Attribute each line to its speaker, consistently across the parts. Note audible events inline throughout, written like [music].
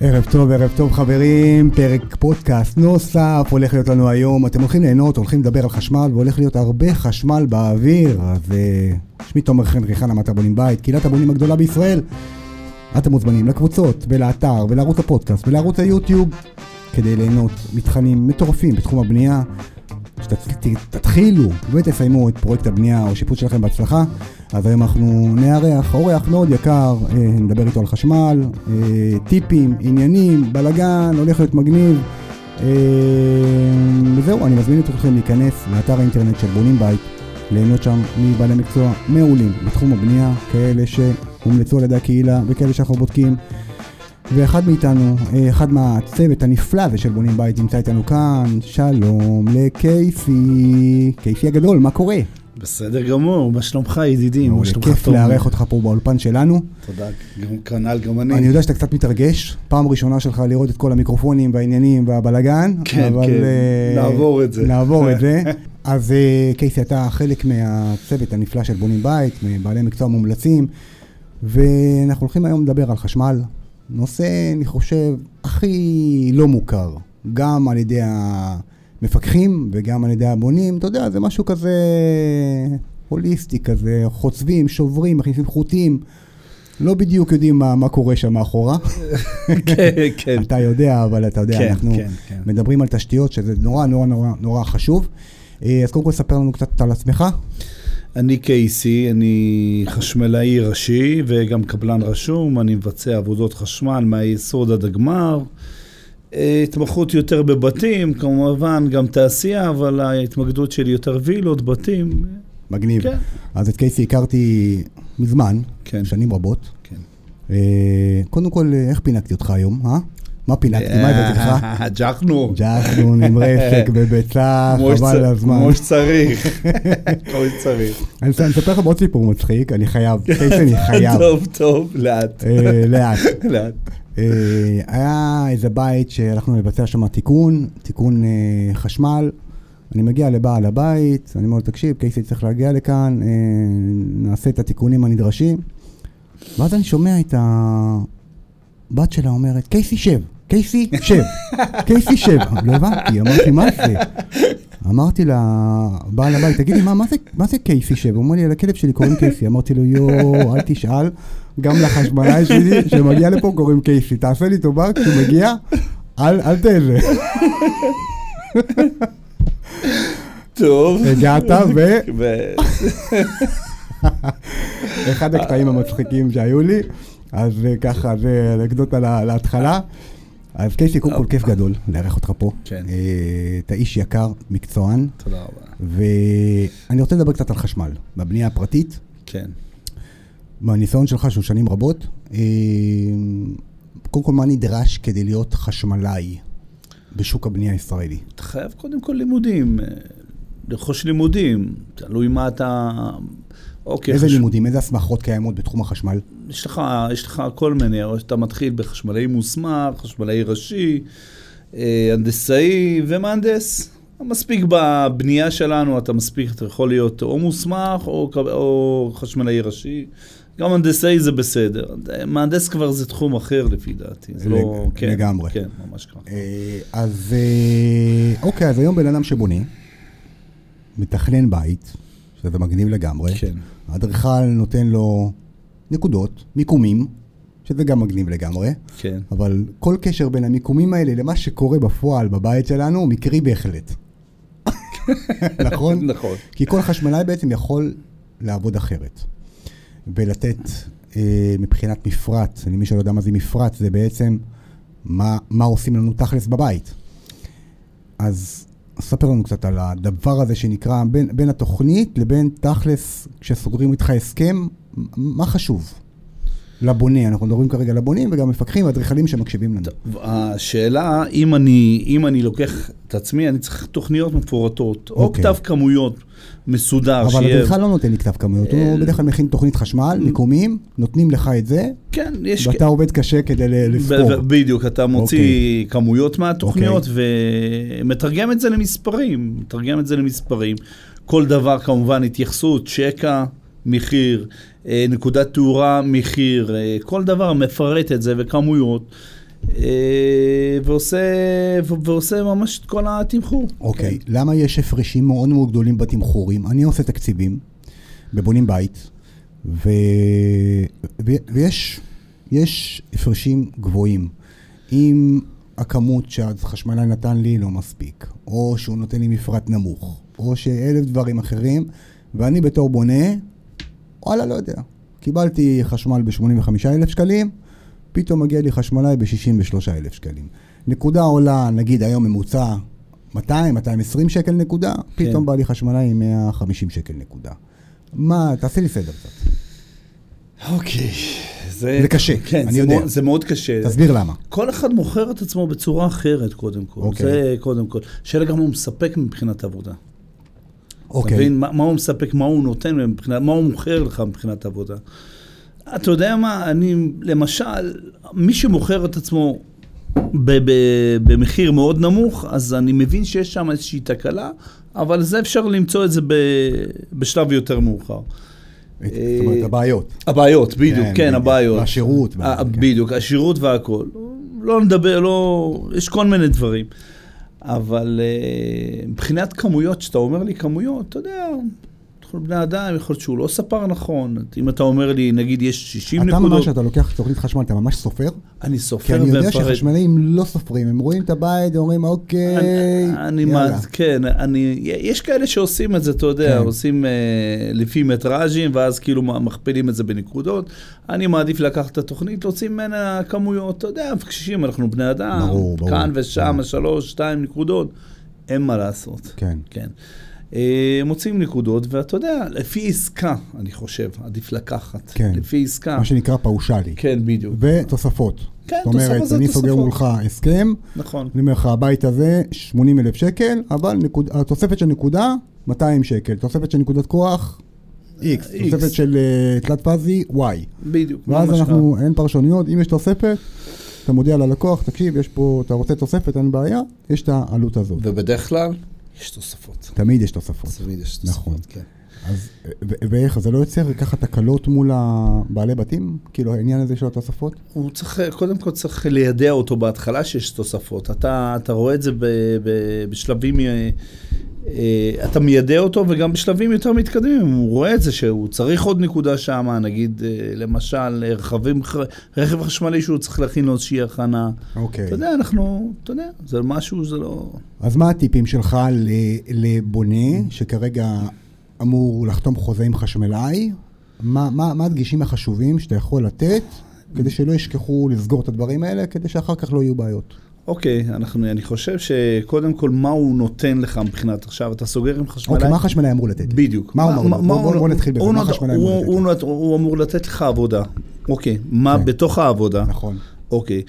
Speaker 1: ערב טוב, ערב טוב חברים, פרק פודקאסט נוסף, הולך להיות לנו היום, אתם הולכים ליהנות, הולכים לדבר על חשמל, והולך להיות הרבה חשמל באוויר, אז אה, שמי תומר חנרי חנה מאתר בונים בית, קהילת הבונים הגדולה בישראל. אתם מוזמנים לקבוצות, ולאתר, ולערוץ הפודקאסט, ולערוץ היוטיוב, כדי ליהנות מתכנים מטורפים בתחום הבנייה, שתתחילו ותסיימו את פרויקט הבנייה או שיפוט שלכם בהצלחה. אז היום אנחנו נארח אורח מאוד יקר, אה, נדבר איתו על חשמל, אה, טיפים, עניינים, בלאגן, הולך להיות מגניב. אה, וזהו, אני מזמין אתכם להיכנס לאתר האינטרנט של בונים בית, ליהנות שם מבעלי מקצוע מעולים בתחום הבנייה, כאלה שהומלצו על ידי הקהילה וכאלה שאנחנו בודקים. ואחד מאיתנו, אה, אחד מהצוות הנפלא הזה של בונים בית נמצא איתנו כאן, שלום לקייסי, קייסי הגדול, מה קורה?
Speaker 2: בסדר גמור, מה שלומך ידידי? מה
Speaker 1: מעולה,
Speaker 2: שלומך
Speaker 1: כיף
Speaker 2: תומר?
Speaker 1: לארח אותך פה באולפן שלנו.
Speaker 2: תודה, גם כנ"ל גם אני.
Speaker 1: אני יודע שאתה קצת מתרגש, פעם ראשונה שלך לראות את כל המיקרופונים והעניינים והבלגן,
Speaker 2: כן,
Speaker 1: אבל...
Speaker 2: כן,
Speaker 1: אה,
Speaker 2: נעבור את זה.
Speaker 1: נעבור את
Speaker 2: [laughs]
Speaker 1: זה. אז אה, קייסי, אתה חלק מהצוות הנפלא של בונים בית, מבעלי מקצוע מומלצים, ואנחנו הולכים היום לדבר על חשמל, נושא, אני חושב, הכי לא מוכר, גם על ידי המפקחים וגם על ידי הבונים, אתה יודע, זה משהו כזה הוליסטי כזה, חוצבים, שוברים, מכניסים חוטים. לא בדיוק יודעים מה, מה קורה שם
Speaker 2: [laughs]
Speaker 1: מאחורה.
Speaker 2: כן, כן.
Speaker 1: אתה יודע, אבל אתה יודע,
Speaker 2: כן,
Speaker 1: אנחנו
Speaker 2: כן, כן.
Speaker 1: מדברים על תשתיות, שזה נורא נורא נורא נורא חשוב. אה, אז קודם כל ספר לנו קצת על עצמך.
Speaker 2: אני קייסי, אני חשמלאי ראשי וגם קבלן רשום, אני מבצע עבודות חשמל מהיסוד עד הגמר. אה, התמחות יותר בבתים, כמובן גם תעשייה, אבל ההתמקדות שלי יותר וילות, בתים.
Speaker 1: מגניב.
Speaker 2: כן.
Speaker 1: אז את קייסי הכרתי מזמן,
Speaker 2: כן.
Speaker 1: שנים רבות.
Speaker 2: כן.
Speaker 1: אה, קודם כל, אה, איך פינקתי אותך היום, אה? מה פינקתי? מה הבאתי
Speaker 2: אה,
Speaker 1: לך?
Speaker 2: ג'חנו,
Speaker 1: ג'אסון עם
Speaker 2: [laughs]
Speaker 1: רסק בביצה,
Speaker 2: כמו שצ-
Speaker 1: חבל הזמן.
Speaker 2: כמו שצריך. [laughs] כמו שצריך.
Speaker 1: אני אני אספר לכם עוד סיפור מצחיק, אני חייב, קייסי אני חייב.
Speaker 2: כן. [laughs] טוב, טוב, לאט.
Speaker 1: אה, לאט.
Speaker 2: לאט.
Speaker 1: אה, היה איזה בית שהלכנו לבצע שם תיקון, תיקון אה, חשמל. אני מגיע לבעל הבית, אני אומר לו, תקשיב, קייסי צריך להגיע לכאן, אה, נעשה את התיקונים הנדרשים. ואז אני שומע את הבת שלה אומרת, קייסי שב, קייסי שב, קייסי שב. לא הבנתי, אמרתי, מה זה? אמרתי לה, בעל הבית, תגידי, מה, מה, זה, מה זה קייסי שב? הוא אומר לי, על הכלב שלי קוראים קייסי. אמרתי לו, יואו, אל תשאל, גם לחשמלאי שלי, שמגיע לפה קוראים קייסי. תעשה לי טובה, כשהוא מגיע, אל, אל תהנה.
Speaker 2: טוב.
Speaker 1: הגעת,
Speaker 2: ו...
Speaker 1: אחד הקטעים המצחיקים שהיו לי, אז אה, ככה, זה אנקדוטה לה- להתחלה. אז קייסי, קודם כל כיף גדול לארח אותך פה.
Speaker 2: כן.
Speaker 1: אה, אתה איש יקר, מקצוען,
Speaker 2: תודה רבה.
Speaker 1: ואני רוצה לדבר קצת על חשמל, בבנייה הפרטית.
Speaker 2: כן.
Speaker 1: מהניסיון שלך, שהוא שנים רבות, אה, קודם כל, מה נדרש כדי להיות חשמלאי בשוק הבנייה הישראלי?
Speaker 2: אתה חייב קודם כל לימודים, אה, לרכוש לימודים, תלוי מה אתה... אוקיי,
Speaker 1: איזה
Speaker 2: חש-
Speaker 1: לימודים, איזה הסמכות קיימות בתחום החשמל?
Speaker 2: יש לך, יש לך כל מיני, או שאתה מתחיל בחשמלאי מוסמך, חשמלאי ראשי, אה, הנדסאי ומהנדס. מספיק בבנייה שלנו, אתה מספיק, אתה יכול להיות או מוסמך או, ק- או חשמלאי ראשי. גם הנדסאי זה בסדר. אה, מהנדס כבר זה תחום אחר לפי דעתי. זה לא...
Speaker 1: לג-
Speaker 2: כן,
Speaker 1: לגמרי.
Speaker 2: כן, ממש ככה.
Speaker 1: אה, אז אה, אוקיי, אז היום בן אדם שבונה, מתכנן בית, שזה מגניב לגמרי,
Speaker 2: כן.
Speaker 1: האדריכל נותן לו נקודות, מיקומים, שזה גם מגניב לגמרי,
Speaker 2: כן.
Speaker 1: אבל כל קשר בין המיקומים האלה למה שקורה בפועל בבית שלנו הוא מקרי
Speaker 2: [laughs]
Speaker 1: בהחלט. נכון?
Speaker 2: נכון.
Speaker 1: כי כל חשמלאי בעצם יכול לעבוד אחרת. ולתת אה, מבחינת מפרט, למי שלא יודע מה זה מפרט, זה בעצם מה, מה עושים לנו תכלס בבית. אז ספר לנו קצת על הדבר הזה שנקרא בין, בין התוכנית לבין תכלס, כשסוגרים איתך הסכם, מ- מה חשוב? לבונה, אנחנו מדברים כרגע לבונים וגם מפקחים ואדריכלים שמקשיבים לנו.
Speaker 2: השאלה, אם אני, אם אני לוקח את עצמי, אני צריך תוכניות מפורטות, או
Speaker 1: אוקיי.
Speaker 2: כתב כמויות מסודר,
Speaker 1: אבל
Speaker 2: שיהיה...
Speaker 1: אדריכל לא נותן לי כתב כמויות, הוא
Speaker 2: אה,
Speaker 1: בדרך כלל מכין תוכנית חשמל, מיקומים, נותנים לך את זה,
Speaker 2: כן, יש...
Speaker 1: ואתה עובד קשה כדי ל- לספור.
Speaker 2: ב- ב- בדיוק, אתה
Speaker 1: אוקיי.
Speaker 2: מוציא כמויות מהתוכניות ומתרגם את זה למספרים, מתרגם את זה למספרים. כל דבר כמובן התייחסות, שקע, מחיר, אה, נקודת תאורה, מחיר, אה, כל דבר מפרט את זה וכמויות. אה, ועושה, ו- ועושה ממש את כל התמחור.
Speaker 1: אוקיי, למה יש הפרשים מאוד מאוד גדולים בתמחורים? אני עושה תקציבים בבונים בית, ו... ו... ויש יש הפרשים גבוהים. אם הכמות שהחשמלאי נתן לי לא מספיק, או שהוא נותן לי מפרט נמוך, או שאלף דברים אחרים, ואני בתור בונה, וואלה, לא יודע. קיבלתי חשמל ב-85,000 שקלים, פתאום מגיע לי חשמלאי ב-63,000 שקלים. נקודה עולה, נגיד היום ממוצע 200, 220 שקל נקודה, פתאום בא לי חשמלאי עם 150 שקל נקודה. מה, תעשה לי סדר קצת.
Speaker 2: אוקיי. זה,
Speaker 1: זה קשה,
Speaker 2: כן,
Speaker 1: אני
Speaker 2: זה
Speaker 1: יודע.
Speaker 2: מאוד, זה מאוד קשה.
Speaker 1: תסביר למה.
Speaker 2: כל אחד מוכר את עצמו בצורה אחרת, קודם כל.
Speaker 1: אוקיי.
Speaker 2: זה קודם כל. שאלה גם הוא מספק מבחינת עבודה. אתה
Speaker 1: אוקיי,
Speaker 2: מבין? מה, מה הוא מספק, מה הוא נותן, מבחינת, מה הוא מוכר לך מבחינת עבודה. אתה יודע מה, אני, למשל, מי שמוכר את עצמו ב, ב, במחיר מאוד נמוך, אז אני מבין שיש שם איזושהי תקלה, אבל זה אפשר למצוא את זה ב, בשלב יותר מאוחר.
Speaker 1: את- זאת
Speaker 2: אה,
Speaker 1: אומרת, הבעיות.
Speaker 2: הבעיות, בדיוק,
Speaker 1: כן,
Speaker 2: כן,
Speaker 1: בדיוק.
Speaker 2: הבעיות.
Speaker 1: והשירות,
Speaker 2: ה-
Speaker 1: כן.
Speaker 2: בדיוק, השירות והכל. לא נדבר, לא... יש כל מיני דברים. אבל אה, מבחינת כמויות, כשאתה אומר לי כמויות, אתה יודע, יכול להיות בני אדם, יכול להיות שהוא לא ספר נכון. אם אתה אומר לי, נגיד, יש 60
Speaker 1: אתה
Speaker 2: נקודות,
Speaker 1: ממש, אתה לוקח תוכנית חשמל, אתה ממש סופר?
Speaker 2: אני
Speaker 1: כי
Speaker 2: סופר
Speaker 1: אני יודע
Speaker 2: ומפרט.
Speaker 1: שחשמלאים לא סופרים, הם רואים את הבית, אומרים, אוקיי,
Speaker 2: אני- אני,
Speaker 1: יאללה.
Speaker 2: מה- כן, אני, יש כאלה שעושים את זה, אתה יודע,
Speaker 1: כן.
Speaker 2: עושים אה, לפי מטראז'ים, ואז כאילו מה- מכפילים את זה בנקודות. אני מעדיף לקחת את התוכנית, להוציא ממנה כמויות, אתה יודע, קשישים, אנחנו בני אדם,
Speaker 1: ברור, ברור.
Speaker 2: כאן ושם,
Speaker 1: ברור.
Speaker 2: שלוש, שתיים נקודות, אין מה לעשות.
Speaker 1: כן.
Speaker 2: כן. אה, מוצאים נקודות, ואתה יודע, לפי עסקה, אני חושב, עדיף לקחת.
Speaker 1: כן.
Speaker 2: לפי עסקה.
Speaker 1: מה שנקרא פאושלי.
Speaker 2: כן, בדיוק.
Speaker 1: ותוספות.
Speaker 2: כן,
Speaker 1: זאת אומרת,
Speaker 2: תוספות זה
Speaker 1: אני
Speaker 2: תוספות.
Speaker 1: סוגר מולך הסכם,
Speaker 2: נכון.
Speaker 1: אני אומר לך, הבית הזה, 80 אלף שקל, אבל נקוד, התוספת של נקודה, 200 שקל. תוספת של נקודת כוח, X.
Speaker 2: X.
Speaker 1: תוספת של אה, תלת פאזי, Y.
Speaker 2: בדיוק.
Speaker 1: ואז
Speaker 2: ממש לא. נכון.
Speaker 1: אנחנו, אין פרשנויות, אם יש תוספת, אתה מודיע ללקוח, תקשיב, יש פה, אתה רוצה תוספת, אין בעיה, יש את העלות הזאת.
Speaker 2: ככה. ובדרך כלל, יש תוספות.
Speaker 1: תמיד יש תוספות.
Speaker 2: תמיד יש תוספות,
Speaker 1: נכון.
Speaker 2: כן.
Speaker 1: אז, אה, ו- ואיך, זה לא יוצר ככה תקלות מול הבעלי בתים? כאילו, העניין הזה של התוספות?
Speaker 2: הוא צריך, קודם כל צריך לידע אותו בהתחלה שיש תוספות. אתה, אתה רואה את זה ב, ב, בשלבים, אה, אה, אתה מיידע אותו וגם בשלבים יותר מתקדמים. הוא רואה את זה שהוא צריך עוד נקודה שם, נגיד, אה, למשל, אה, רכבים, ח- רכב חשמלי שהוא צריך להכין לו איזושהי הכנה.
Speaker 1: אוקיי.
Speaker 2: אתה יודע, אנחנו, אתה יודע, זה משהו, זה לא...
Speaker 1: אז מה הטיפים שלך ל- לבונה שכרגע אמור לחתום חוזה עם חשמלאי? מה, מה, מה הדגישים החשובים שאתה יכול לתת כדי שלא ישכחו לסגור את הדברים האלה, כדי שאחר כך לא יהיו בעיות?
Speaker 2: אוקיי, אנחנו, אני חושב שקודם כל, מה הוא נותן לך מבחינת עכשיו, אתה סוגר עם חשמלאי.
Speaker 1: אוקיי, מה החשמלאי אמור לתת? לי?
Speaker 2: בדיוק.
Speaker 1: מה הוא אמור לתת? בוא- בוא- בוא נתחיל בזה,
Speaker 2: הוא
Speaker 1: מה
Speaker 2: נות-
Speaker 1: החשמלאי
Speaker 2: הוא-
Speaker 1: אמור לתת?
Speaker 2: הוא נות- הוא אמור לתת לך עבודה. אוקיי, מה
Speaker 1: כן.
Speaker 2: בתוך העבודה?
Speaker 1: נכון.
Speaker 2: אוקיי.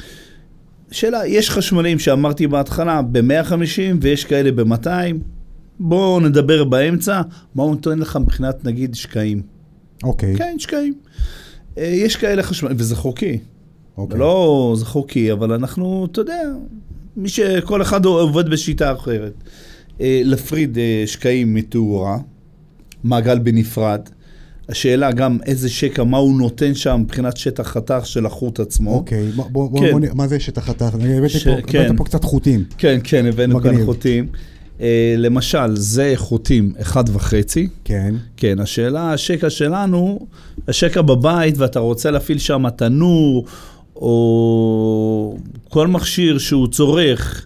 Speaker 2: שאלה, יש חשמלאים שאמרתי בהתחלה ב-150 ויש כאלה ב-200? בואו נדבר באמצע, מה הוא נותן לך מבחינת נגיד שקעים.
Speaker 1: אוקיי,
Speaker 2: כן, שקעים. אה, יש כאלה חשמלאים, וזה חוקי.
Speaker 1: אוקיי.
Speaker 2: לא, זה חוקי, אבל אנחנו, אתה יודע, מי ש... כל אחד עובד בשיטה אחרת. אה, להפריד אה, שקעים מתאורה, מעגל בנפרד. השאלה גם איזה שקע, מה הוא נותן שם מבחינת שטח חתך של החוט עצמו.
Speaker 1: אוקיי, בוא- בוא- בוא-
Speaker 2: כן.
Speaker 1: בוא נ- מה זה שטח חתך? אני הבאתי
Speaker 2: ש-
Speaker 1: פה-
Speaker 2: כן.
Speaker 1: הבאת פה קצת חוטים.
Speaker 2: כן, כן, הבאנו
Speaker 1: מגניב.
Speaker 2: כאן חוטים. אה, למשל, זה חוטים אחד וחצי.
Speaker 1: כן,
Speaker 2: כן, השאלה, השקע שלנו, השקע בבית ואתה רוצה להפעיל שם תנור, או כל מכשיר שהוא צורך,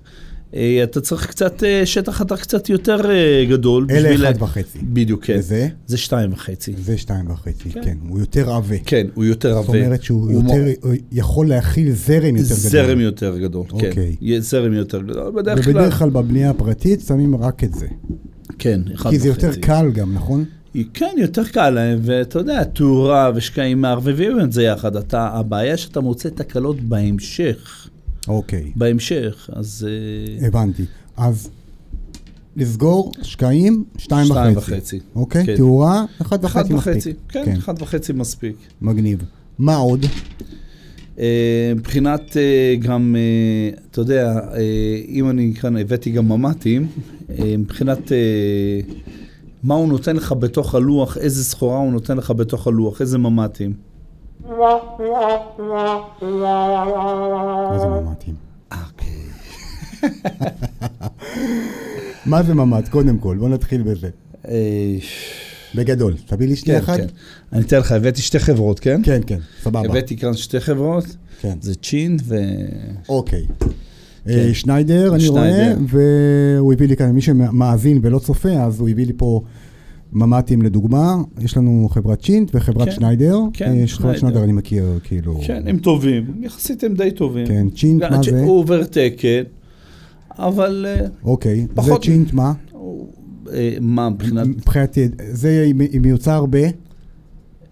Speaker 2: אה, אתה צריך קצת, אה, שטח חתך קצת יותר אה, גדול.
Speaker 1: אלה
Speaker 2: בשביל
Speaker 1: אחד
Speaker 2: לה-
Speaker 1: וחצי.
Speaker 2: בדיוק, כן.
Speaker 1: וזה?
Speaker 2: זה שתיים וחצי.
Speaker 1: זה שתיים וחצי,
Speaker 2: כן.
Speaker 1: כן. הוא יותר עבה.
Speaker 2: כן, הוא יותר עבה.
Speaker 1: זאת אומרת שהוא יותר, הוא יכול להכיל זרם יותר גדול.
Speaker 2: זרם יותר גדול, כן.
Speaker 1: אוקיי.
Speaker 2: יהיה זרם יותר גדול, בדרך כלל.
Speaker 1: ובדרך כלל בבנייה הפרטית שמים רק את זה.
Speaker 2: כן, אחד
Speaker 1: כי זה
Speaker 2: וחצי.
Speaker 1: יותר קל גם, נכון?
Speaker 2: כן, יותר קל להם, ואתה יודע, תאורה ושקעים מערבבים את זה יחד. אתה, הבעיה שאתה מוצא תקלות בהמשך.
Speaker 1: אוקיי,
Speaker 2: בהמשך, אז... אה,
Speaker 1: הבנתי. אז לסגור שקעים, שתיים וחצי.
Speaker 2: שתיים וחצי.
Speaker 1: אוקיי,
Speaker 2: כן.
Speaker 1: תאורה, אחד
Speaker 2: אחד
Speaker 1: וחצי לא מספיק.
Speaker 2: וחצי, כן, אחד וחצי מספיק.
Speaker 1: מגניב. מה עוד?
Speaker 2: אה, מבחינת אה, גם, אה, אתה יודע, אה, אם אני כאן הבאתי גם ממ"טים, אה, מבחינת אה, מה הוא נותן לך בתוך הלוח, איזה סחורה הוא נותן לך בתוך הלוח, איזה ממ"טים.
Speaker 1: מה זה ממ"טי? אה, אוקיי.
Speaker 2: [laughs]
Speaker 1: מה זה ממ"ד, קודם כל? בוא נתחיל בזה.
Speaker 2: אה,
Speaker 1: בגדול, תביא לי שנייה
Speaker 2: כן,
Speaker 1: אחת.
Speaker 2: כן. אני אתן לך, הבאתי שתי חברות, כן?
Speaker 1: כן, כן, סבבה.
Speaker 2: הבאתי כאן שתי חברות,
Speaker 1: כן,
Speaker 2: זה צ'ין ו...
Speaker 1: אוקיי. אה, שניידר, אני רואה,
Speaker 2: כן. שניידר.
Speaker 1: והוא הביא לי כאן, מי שמאזין ולא צופה, אז הוא הביא לי פה ממ"טים לדוגמה. יש לנו חברת צ'ינט וחברת
Speaker 2: כן,
Speaker 1: שניידר.
Speaker 2: כן,
Speaker 1: אה, חברת
Speaker 2: שניידר.
Speaker 1: שניידר אני מכיר, כאילו...
Speaker 2: כן, הם טובים, יחסית הם די טובים.
Speaker 1: כן, צ'ינט, מה זה?
Speaker 2: הוא עובר תקן, אבל אה,
Speaker 1: אוקיי, זה
Speaker 2: פחות-
Speaker 1: צ'ינט מה?
Speaker 2: הוא- אה, מה מבחינת...
Speaker 1: מבחינת, זה מ- מיוצר ב...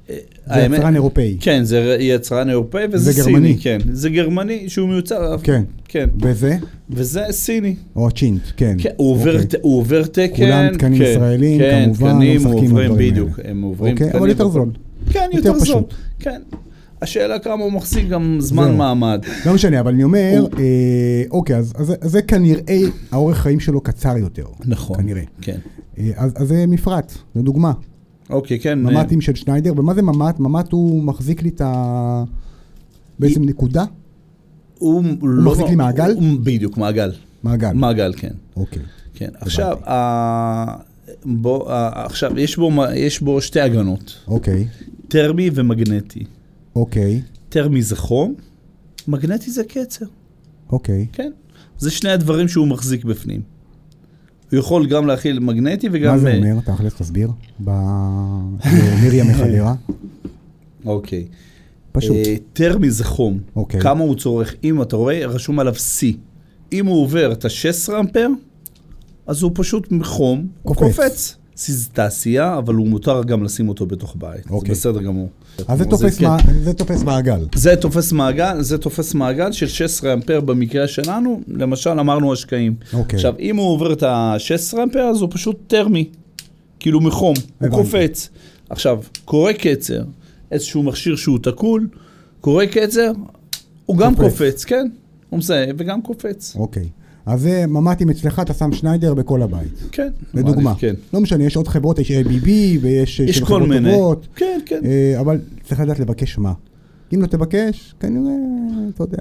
Speaker 1: זה
Speaker 2: האמת-
Speaker 1: יצרן אירופאי.
Speaker 2: כן, זה יצרן אירופאי וזה
Speaker 1: זה
Speaker 2: סיני.
Speaker 1: גרמני.
Speaker 2: כן, זה גרמני שהוא מיוצר.
Speaker 1: כן.
Speaker 2: כן,
Speaker 1: וזה?
Speaker 2: וזה סיני.
Speaker 1: או הצ'ינט, כן.
Speaker 2: כן, הוא עובר
Speaker 1: אוקיי.
Speaker 2: ת- הוא עובר תקן.
Speaker 1: כולם תקנים
Speaker 2: כן,
Speaker 1: ישראלים,
Speaker 2: כן,
Speaker 1: כמובן, לא
Speaker 2: תקנים,
Speaker 1: משחקים
Speaker 2: עוברים,
Speaker 1: בדברים
Speaker 2: בדיוק,
Speaker 1: האלה.
Speaker 2: הם עוברים
Speaker 1: אוקיי,
Speaker 2: תקנים.
Speaker 1: אבל יותר
Speaker 2: והכל.
Speaker 1: זול.
Speaker 2: כן,
Speaker 1: יותר
Speaker 2: יותר זול.
Speaker 1: פשוט.
Speaker 2: כן. השאלה כמה הוא מחזיק גם זמן
Speaker 1: זהו.
Speaker 2: מעמד.
Speaker 1: לא משנה, אבל אני אומר, אה, אוקיי, אז אז זה- אז זה כנראה, האורך חיים שלו קצר יותר.
Speaker 2: נכון.
Speaker 1: כנראה.
Speaker 2: כן.
Speaker 1: אה, אז אז זה מפרט, זו דוגמה.
Speaker 2: אוקיי, כן.
Speaker 1: ממ"טים של שניידר, ומה זה ממ"ט? ממ"ט הוא מחזיק לי את ה... בעצם נקודה?
Speaker 2: הוא לא-
Speaker 1: מחזיק לי מעגל?
Speaker 2: הוא- בדיוק, מעגל.
Speaker 1: מעגל.
Speaker 2: מעגל, כן.
Speaker 1: אוקיי.
Speaker 2: כן. עכשיו, ה- בוא, ה- עכשיו, יש בו מ- יש בו שתי הגנות,
Speaker 1: אוקיי.
Speaker 2: טרמי ומגנטי.
Speaker 1: אוקיי.
Speaker 2: טרמי זה חום, מגנטי זה קצר,
Speaker 1: אוקיי.
Speaker 2: כן? זה שני הדברים שהוא מחזיק בפנים. הוא יכול גם להכיל מגנטי וגם...
Speaker 1: מה זה
Speaker 2: אה,
Speaker 1: אומר? תכלס, תסביר. ב... אה, מרים
Speaker 2: [laughs]
Speaker 1: מחדרה.
Speaker 2: אוקיי.
Speaker 1: פשוט.
Speaker 2: אה, טרמי זה חום.
Speaker 1: אוקיי.
Speaker 2: כמה הוא צורך? אם אתה רואה, רשום עליו C. אם הוא עובר את ה-16 אמפר, אז הוא פשוט מחום, הוא
Speaker 1: קופץ.
Speaker 2: קופץ. C זה תעשייה, אבל הוא מותר גם לשים אותו בתוך בית. זה
Speaker 1: אוקיי.
Speaker 2: בסדר גמור.
Speaker 1: אז זה תופס
Speaker 2: כן.
Speaker 1: מע- זה תופס מעגל.
Speaker 2: זה תופס מעגל, זה תופס מעגל של 16 אמפר במקרה שלנו, למשל אמרנו השקעים.
Speaker 1: אוקיי.
Speaker 2: עכשיו, אם הוא עובר את ה-16 אמפר, אז הוא פשוט טרמי, כאילו מחום, הוא
Speaker 1: הבנתי.
Speaker 2: קופץ. עכשיו, קורה קצר, איזשהו מכשיר שהוא תקול, קורה קצר, הוא גם
Speaker 1: קופץ.
Speaker 2: קופץ, כן, הוא מזהה וגם קופץ,
Speaker 1: אוקיי. אז זה ממ"טים אצלך, אתה שם שניידר בכל הבית.
Speaker 2: כן.
Speaker 1: לדוגמה.
Speaker 2: כן.
Speaker 1: לא משנה, יש עוד חברות, יש ABB ויש אה,
Speaker 2: יש
Speaker 1: של
Speaker 2: כל
Speaker 1: חברות
Speaker 2: מיני.
Speaker 1: טובות,
Speaker 2: כן, כן.
Speaker 1: אה, אבל צריך לדעת לבקש מה. אם לא תבקש, כנראה, אתה יודע.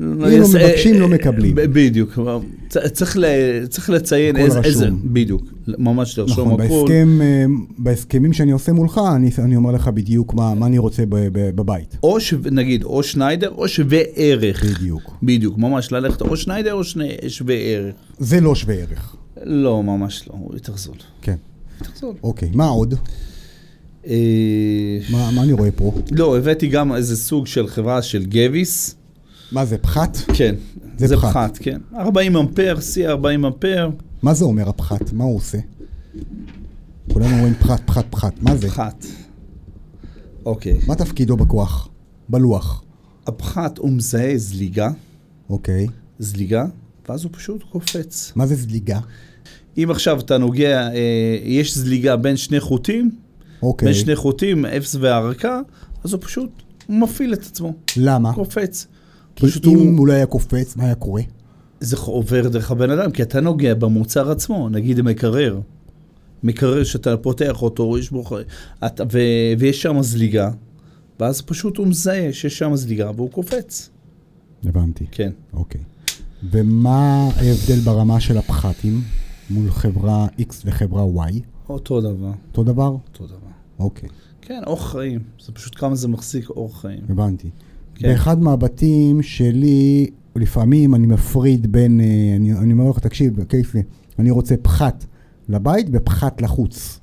Speaker 1: אם
Speaker 2: יש-
Speaker 1: מבקשים,
Speaker 2: אה,
Speaker 1: לא מקבלים.
Speaker 2: ב- בדיוק, כלומר, צ- צריך ל- צריך לציין
Speaker 1: הכל
Speaker 2: איזה- איזה,
Speaker 1: רשום.
Speaker 2: בדיוק, ממש לרשום
Speaker 1: נכון,
Speaker 2: הכול.
Speaker 1: בהסכם, אה, בהסכמים שאני עושה מולך, אני- אני אומר לך בדיוק מה מה אני רוצה ב- ב- בבית.
Speaker 2: או שו- נגיד, או שניידר או שווה ערך.
Speaker 1: בדיוק.
Speaker 2: בדיוק, ממש ללכת או שניידר או שני שווה ערך.
Speaker 1: זה לא שווה ערך.
Speaker 2: לא, ממש לא, הוא יותר זול.
Speaker 1: כן.
Speaker 2: יותר זול.
Speaker 1: אוקיי, מה עוד?
Speaker 2: אה,
Speaker 1: מה מה אני רואה פה?
Speaker 2: לא, הבאתי גם איזה סוג של חברה של גביס.
Speaker 1: מה זה, פחת?
Speaker 2: כן,
Speaker 1: זה
Speaker 2: זה
Speaker 1: פחת.
Speaker 2: פחת, כן. 40 אמפר, C 40 אמפר,
Speaker 1: מה זה אומר הפחת? מה הוא עושה? כולם אומרים פחת, פחת, פחת. מה זה?
Speaker 2: פחת. אוקיי.
Speaker 1: מה תפקידו בכוח? בלוח.
Speaker 2: הפחת הוא מזהה זליגה,
Speaker 1: אוקיי.
Speaker 2: זליגה, ואז הוא פשוט קופץ.
Speaker 1: מה זה זליגה?
Speaker 2: אם עכשיו אתה נוגע, אה, יש זליגה בין שני חוטים,
Speaker 1: אוקיי.
Speaker 2: בין שני חוטים, אפס והערקה, אז הוא פשוט מפעיל את עצמו,
Speaker 1: למה?
Speaker 2: קופץ.
Speaker 1: כי
Speaker 2: אה. פשוט
Speaker 1: אם
Speaker 2: הוא,
Speaker 1: הוא לא היה קופץ, מה היה קורה?
Speaker 2: זה עובר דרך הבן אדם, כי אתה נוגע במוצר עצמו, נגיד מקרר. מקרר שאתה פותח אותו, יש בו, ח- אתה, ו, ויש שם זליגה, ואז פשוט הוא מזהה שיש שם זליגה והוא קופץ.
Speaker 1: הבנתי.
Speaker 2: כן.
Speaker 1: אוקיי. ומה ההבדל ברמה של הפחתים מול חברה X וחברה Y?
Speaker 2: אותו דבר,
Speaker 1: אותו דבר?
Speaker 2: אותו דבר.
Speaker 1: אוקיי,
Speaker 2: כן, אור חיים. זה פשוט כמה זה מחזיק אור חיים.
Speaker 1: הבנתי.
Speaker 2: כן.
Speaker 1: באחד מהבתים שלי, לפעמים אני מפריד בין, אה, אני, אני אומר לך, תקשיב, קייסי, אני רוצה פחת לבית ופחת לחוץ.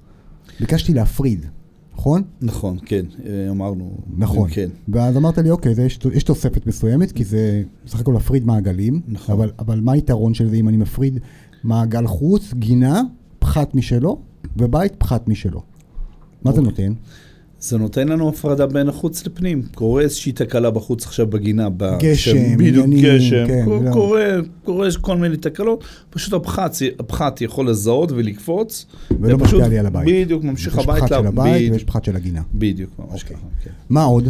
Speaker 1: ביקשתי להפריד, נכון?
Speaker 2: נכון, כן, אה, אמרנו.
Speaker 1: נכון.
Speaker 2: כן.
Speaker 1: ואז אמרת לי, אוקיי, זה יש, יש תוספת מסוימת, כי זה בסך הכל להפריד מעגלים,
Speaker 2: נכון.
Speaker 1: אבל, אבל מה היתרון של זה אם אני מפריד מעגל חוץ, גינה, פחת משלו, ובית פחת משלו? מה זה
Speaker 2: אוקיי.
Speaker 1: נותן?
Speaker 2: זה נותן לנו הפרדה בין החוץ לפנים. קורה איזושהי תקלה בחוץ עכשיו בגינה. ב-
Speaker 1: גשם,
Speaker 2: שם- בדיוק,
Speaker 1: עניינים,
Speaker 2: גשם.
Speaker 1: כן,
Speaker 2: קור-
Speaker 1: לא.
Speaker 2: קורה, קורה כל מיני תקלות. פשוט הפחת, הפחת יכול לזהות ולקפוץ.
Speaker 1: ולא
Speaker 2: ופשוט
Speaker 1: משפיע לי על הבית.
Speaker 2: בדיוק, ממשיך
Speaker 1: יש
Speaker 2: הבית.
Speaker 1: פחת של
Speaker 2: לה-
Speaker 1: הבית
Speaker 2: בדיוק,
Speaker 1: ויש פחת של הגינה.
Speaker 2: בדיוק, ממש
Speaker 1: אוקיי.
Speaker 2: ככה. כן.
Speaker 1: מה עוד?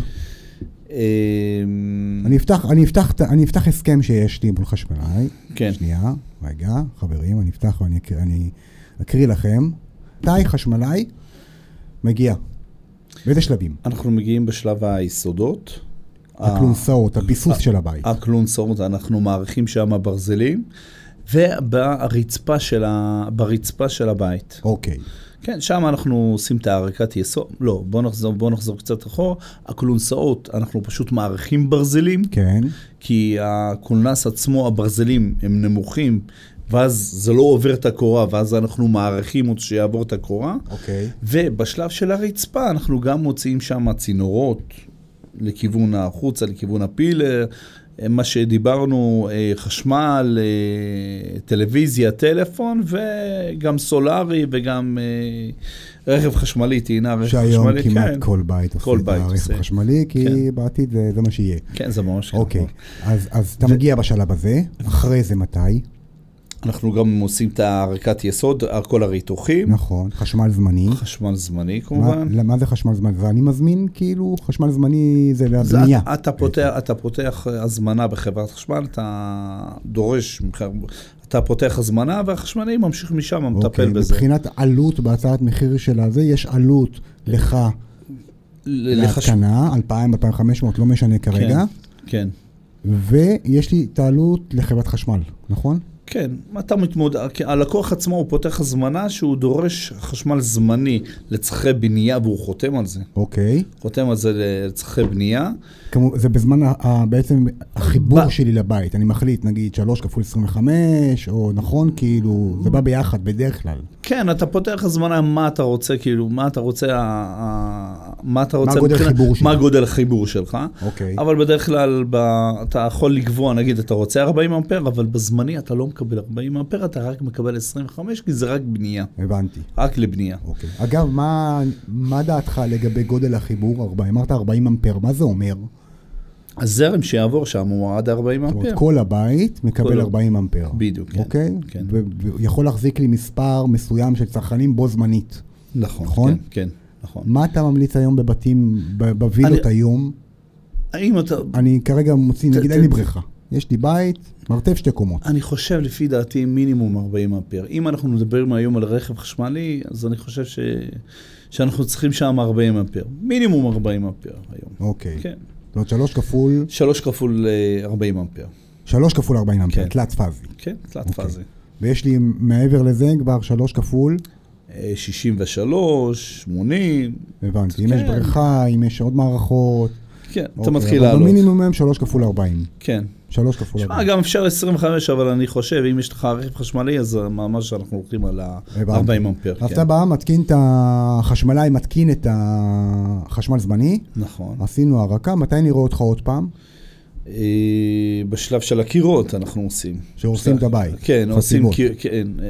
Speaker 2: אמ,
Speaker 1: אני אפתח, אני אפתח, את- אני אפתח הסכם שיש לי מול חשמלאי.
Speaker 2: כן.
Speaker 1: שנייה, רגע, חברים, אני אפתח ואני אקריא, אני אקריא לכם. מתי חשמלאי מגיע? באיזה שלבים?
Speaker 2: אנחנו מגיעים בשלב היסודות.
Speaker 1: הכלונסאות, הביסוס של
Speaker 2: אה.
Speaker 1: הבית.
Speaker 2: הכלונסאות, אנחנו מעריכים שם ברזלים, וברצפה של, ה... ברצפה של הבית.
Speaker 1: אוקיי.
Speaker 2: כן, שם אנחנו עושים את העריקת יסוד, לא, בוא נחזור, בוא נחזור קצת אחורה. הכלונסאות, אנחנו פשוט מעריכים ברזלים,
Speaker 1: כן.
Speaker 2: כי הקולנס עצמו, הברזלים הם נמוכים, ואז זה לא עובר את הקורה, ואז אנחנו מעריכים אותו שיעבור את הקורה.
Speaker 1: אוקיי.
Speaker 2: ובשלב של הרצפה אנחנו גם מוציאים שם צינורות לכיוון החוצה, לכיוון הפילר, מה שדיברנו, אה, חשמל, אה, טלוויזיה, טלפון, וגם סולארי וגם אה, רכב חשמלי, טעינה רכב חשמלי.
Speaker 1: שהיום כמעט
Speaker 2: כן.
Speaker 1: כל בית עושה
Speaker 2: כל
Speaker 1: את
Speaker 2: בית
Speaker 1: הרכב
Speaker 2: עושה.
Speaker 1: חשמלי, כי
Speaker 2: כן.
Speaker 1: בעתיד זה- זה מה שיהיה.
Speaker 2: כן, נכון. זה ממש ככה.
Speaker 1: אוקיי, אז, אז אתה מגיע בשלב הזה, אחרי זה מתי?
Speaker 2: אנחנו גם עושים את הערכת יסוד, כל הריתוחים,
Speaker 1: נכון, חשמל זמני.
Speaker 2: חשמל זמני
Speaker 1: מה,
Speaker 2: כן. כמובן.
Speaker 1: מה זה חשמל זמני? זה אני מזמין, כאילו, חשמל זמני זה
Speaker 2: זה
Speaker 1: לבנייה.
Speaker 2: אתה, אתה, פותח, אתה פותח הזמנה בחברת חשמל, אתה דורש, ממך- אתה פותח הזמנה והחשמלאי ממשיך משם, מטפל בזה.
Speaker 1: אוקיי, מבחינת עלות בהצעת מחיר של הזה, יש עלות לך
Speaker 2: ל- לחש-
Speaker 1: להתקנה, 2,000, 2,500, לא משנה כרגע,
Speaker 2: כן, כן.
Speaker 1: ויש לי את העלות לחברת חשמל, נכון?
Speaker 2: כן, אתה מתמודד, הלקוח עצמו הוא פותח הזמנה שהוא דורש חשמל זמני לצרכי בנייה והוא חותם על זה.
Speaker 1: אוקיי.
Speaker 2: חותם על זה לצרכי בנייה.
Speaker 1: כמו, זה בזמן ה- ה- בעצם החיבור
Speaker 2: ב-
Speaker 1: שלי לבית, אני מחליט נגיד 3 כפול 25, או נכון, כאילו, זה בא ביחד בדרך כלל.
Speaker 2: כן, אתה פותח הזמנה מה אתה רוצה, כאילו, מה אתה רוצה, ה- ה- מה אתה רוצה,
Speaker 1: גודל
Speaker 2: מבחינת-
Speaker 1: החיבור שלך?
Speaker 2: מה גודל החיבור שלך.
Speaker 1: אוקיי.
Speaker 2: אבל בדרך כלל ב... אתה יכול לקבוע, נגיד אתה רוצה 40 אמפר, אבל בזמני אתה לא מקבל 40 אמפר, אתה רק מקבל 25, כי זה רק בנייה,
Speaker 1: הבנתי.
Speaker 2: רק לבנייה.
Speaker 1: אוקיי. אגב, מה, מה דעתך לגבי גודל החיבור? 40, אמרת 40 אמפר, מה זה אומר?
Speaker 2: הזרם שיעבור שם הוא עד 40
Speaker 1: זאת
Speaker 2: אמפר.
Speaker 1: אומרת, כל הבית מקבל
Speaker 2: כל-
Speaker 1: 40 אמפר.
Speaker 2: בדיוק, כן.
Speaker 1: אוקיי?
Speaker 2: כן.
Speaker 1: ו- ויכול להחזיק לי מספר מסוים של צרכנים בו זמנית.
Speaker 2: נכון,
Speaker 1: נכון?
Speaker 2: כן, כן, נכון.
Speaker 1: מה אתה ממליץ היום בבתים, ב- בווילות
Speaker 2: אני-
Speaker 1: היום?
Speaker 2: האם אתה...
Speaker 1: אני כרגע מוציא,
Speaker 2: ת-
Speaker 1: נגיד
Speaker 2: ת-
Speaker 1: אין לי בריכה. יש לי בית, מרתף שתי קומות.
Speaker 2: אני חושב, לפי דעתי, מינימום 40 אמפר. אם אנחנו מדברים היום על רכב חשמלי, אז אני חושב ש... שאנחנו צריכים שם 40 אמפר. מינימום 40 אמפר היום.
Speaker 1: אוקיי.
Speaker 2: כן.
Speaker 1: זאת אומרת, 3 כפול,
Speaker 2: 3 כפול אה, 40 אמפר.
Speaker 1: 3 כפול 40 אמפר,
Speaker 2: כן.
Speaker 1: תלת פאזי.
Speaker 2: כן,
Speaker 1: אוקיי.
Speaker 2: תלת פאזי.
Speaker 1: ויש לי מעבר לזה כבר 3 כפול,
Speaker 2: אה, 63, 80,
Speaker 1: הבנתי. אם יש
Speaker 2: כן.
Speaker 1: בריכה, אם יש עוד מערכות.
Speaker 2: כן, אתה
Speaker 1: אוקיי,
Speaker 2: מתחיל
Speaker 1: אבל
Speaker 2: לעלות.
Speaker 1: במינימום אוקיי. הם 3 כפול 40.
Speaker 2: כן.
Speaker 1: 3 כפול
Speaker 2: שמע,
Speaker 1: 40.
Speaker 2: גם אפשר 25, אבל אני חושב, אם יש לך רכב חשמלי, אז ממש אנחנו הולכים על
Speaker 1: הבנתי.
Speaker 2: ה-40 אמפר.
Speaker 1: אז
Speaker 2: כן.
Speaker 1: אתה בא, מתקין את החשמלאי, מתקין את החשמל זמני,
Speaker 2: נכון.
Speaker 1: עשינו הרקה, מתי נראה אותך עוד פעם?
Speaker 2: אה, בשלב של הקירות אנחנו עושים.
Speaker 1: שהורסים את הבית.
Speaker 2: כן, עושים...
Speaker 1: חסימות.
Speaker 2: קיר- כן. אה,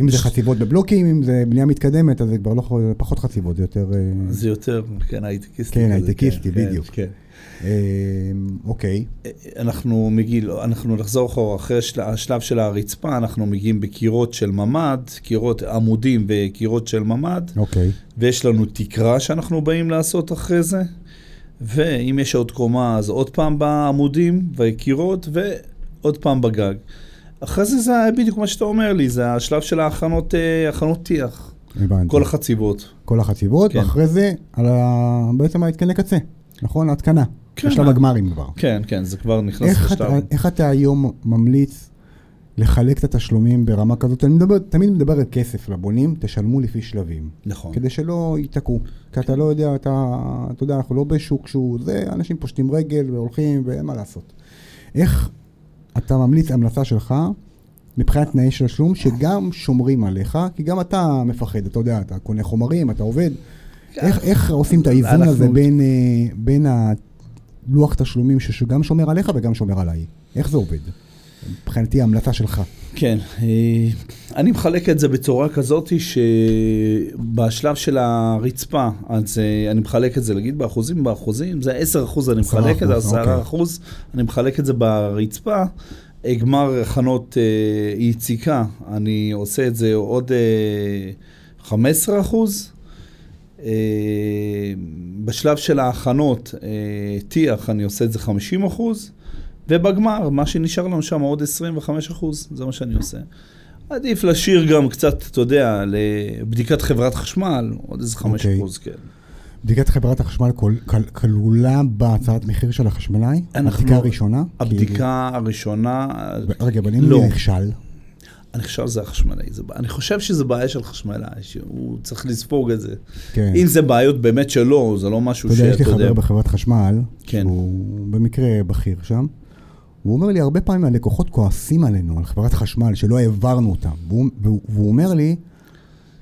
Speaker 1: אם זה
Speaker 2: ש-
Speaker 1: חציבות בבלוקים, אם זה בנייה מתקדמת, אז זה כבר לא, יכול- פחות חציבות, זה יותר... אה,
Speaker 2: זה יותר, כן, הייטקיסטי.
Speaker 1: כן,
Speaker 2: כזה,
Speaker 1: הייטקיסטי,
Speaker 2: כן,
Speaker 1: בדיוק.
Speaker 2: כן.
Speaker 1: אה, אוקיי,
Speaker 2: אנחנו מגיל, אנחנו נחזור אחורה, אחרי השל- השלב של הרצפה, אנחנו מגיעים בקירות של ממ"ד, קירות עמודים וקירות של ממ"ד,
Speaker 1: אוקיי.
Speaker 2: ויש לנו תקרה שאנחנו באים לעשות אחרי זה, ואם יש עוד קומה, אז עוד פעם בעמודים והקירות, ועוד פעם בגג. אחרי זה זה בדיוק מה שאתה אומר לי, זה השלב של ההכנות, אה, הכנות טיח,
Speaker 1: הבנתי.
Speaker 2: כל החציבות.
Speaker 1: כל החציבות,
Speaker 2: כן.
Speaker 1: ואחרי זה, על ה... בעצם ההתקן לקצה, נכון? ההתקנה.
Speaker 2: כן.
Speaker 1: בשלב הגמרים כבר.
Speaker 2: כן, כן, זה כבר נכנס
Speaker 1: איך
Speaker 2: לשלב.
Speaker 1: אתה- איך אתה היום ממליץ לחלק את התשלומים ברמה כזאת? אני מדבר, תמיד מדבר על כסף לבונים, תשלמו לפי שלבים.
Speaker 2: נכון.
Speaker 1: כדי שלא ייתקעו. כי אתה לא יודע, אתה, אתה יודע, אנחנו לא בשוק שהוא זה, אנשים פושטים רגל והולכים ואין מה לעשות. איך אתה ממליץ המלצה שלך מבחינת תנאי של שלום, שגם שומרים עליך, כי גם אתה מפחד, אתה יודע, אתה קונה חומרים, אתה עובד. איך, איך עושים את האיזון
Speaker 2: אנחנו-
Speaker 1: הזה בין, אה, בין הלוח תשלומים ש- שגם שומר עליך וגם שומר עליי? איך זה עובד? מבחינתי ההמלצה שלך.
Speaker 2: כן, אה, אני מחלק את זה בצורה כזאת שבשלב של הרצפה, אז אה, אני מחלק את זה, נגיד באחוזים, באחוזים, זה 10% אני מחלק את זה,
Speaker 1: 10%,
Speaker 2: 10% אני מחלק את זה ברצפה. אה, גמר הכנות אה, יציקה, אני עושה את זה עוד אה, 15%. אה, בשלב של ההכנות, אה, טיח, אני עושה את זה 50 אחוז, ובגמר, מה שנשאר לנו שם עוד 25 אחוז, זה מה שאני עושה. עדיף להשאיר גם קצת, אתה יודע, לבדיקת חברת חשמל, עוד איזה 5
Speaker 1: אוקיי.
Speaker 2: אחוז, כן.
Speaker 1: בדיקת חברת החשמל כול- כל- כלולה בהצעת מחיר של החשמלאי?
Speaker 2: אנחנו-
Speaker 1: הבדיקה הראשונה?
Speaker 2: הבדיקה הראשונה,
Speaker 1: כאילו, רגע, אבל אם
Speaker 2: לא.
Speaker 1: אני נכשל,
Speaker 2: אני חושב שזה החשמלאי, זה, בע- אני חושב שזה בעיה של חשמלאי, שהוא צריך לספוג את זה.
Speaker 1: כן.
Speaker 2: אם זה בעיות באמת שלו, זה לא משהו
Speaker 1: אתה יודע, יש לי
Speaker 2: שאתה יודע.
Speaker 1: חבר בחברת חשמל,
Speaker 2: כן.
Speaker 1: שהוא במקרה בכיר שם, הוא אומר לי, הרבה פעמים הלקוחות כועסים עלינו, על חברת חשמל, שלא העברנו אותם. והוא, והוא, והוא אומר לי,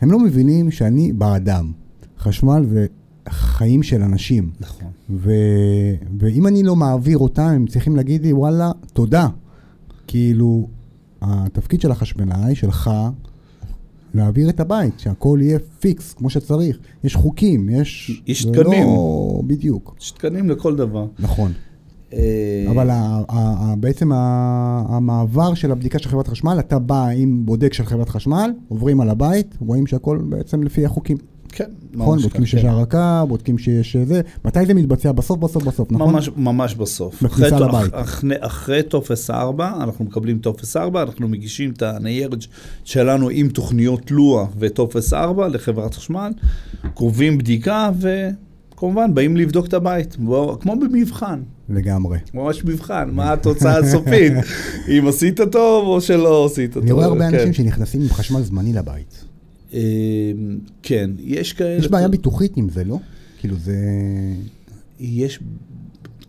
Speaker 1: הם לא מבינים שאני בעדם. חשמל זה חיים של אנשים.
Speaker 2: נכון.
Speaker 1: ו... ואם אני לא מעביר אותם, הם צריכים להגיד לי, וואלה, תודה. כאילו, התפקיד של החשמלאי, שלך, להעביר את הבית, שהכל יהיה פיקס, כמו שצריך. יש חוקים, יש...
Speaker 2: יש
Speaker 1: זה
Speaker 2: תקנים.
Speaker 1: לא... בדיוק.
Speaker 2: יש תקנים לכל דבר.
Speaker 1: נכון.
Speaker 2: אה,
Speaker 1: אבל ה- ה- ה- בעצם ה- המעבר של הבדיקה של חברת חשמל, אתה בא עם בודק של חברת חשמל, עוברים על הבית, רואים שהכל בעצם לפי החוקים.
Speaker 2: כן,
Speaker 1: נכון?
Speaker 2: ממש
Speaker 1: בודקים
Speaker 2: ככה,
Speaker 1: שיש הרקה, בודקים שיש זה. מתי זה מתבצע? בסוף, בסוף, בסוף, נכון?
Speaker 2: ממש, ממש בסוף.
Speaker 1: בכניסה
Speaker 2: אחרי-
Speaker 1: לבית.
Speaker 2: אחרי, אחרי טופס 4, אנחנו מקבלים טופס 4, אנחנו מגישים את הניירת ש- שלנו עם תוכניות לוח וטופס 4 לחברת חשמל, קובעים בדיקה וכמובן באים לבדוק את הבית, בוא, כמו במבחן.
Speaker 1: לגמרי.
Speaker 2: ממש מבחן, מה התוצאה
Speaker 1: [laughs]
Speaker 2: הסופית, אם עשית טוב או שלא עשית טוב.
Speaker 1: אני רואה הרבה
Speaker 2: כן.
Speaker 1: אנשים שנכנסים עם חשמל זמני לבית.
Speaker 2: אה, כן, יש כאלה...
Speaker 1: יש בעיה ביטוחית עם זה, לא? כאילו זה...
Speaker 2: יש...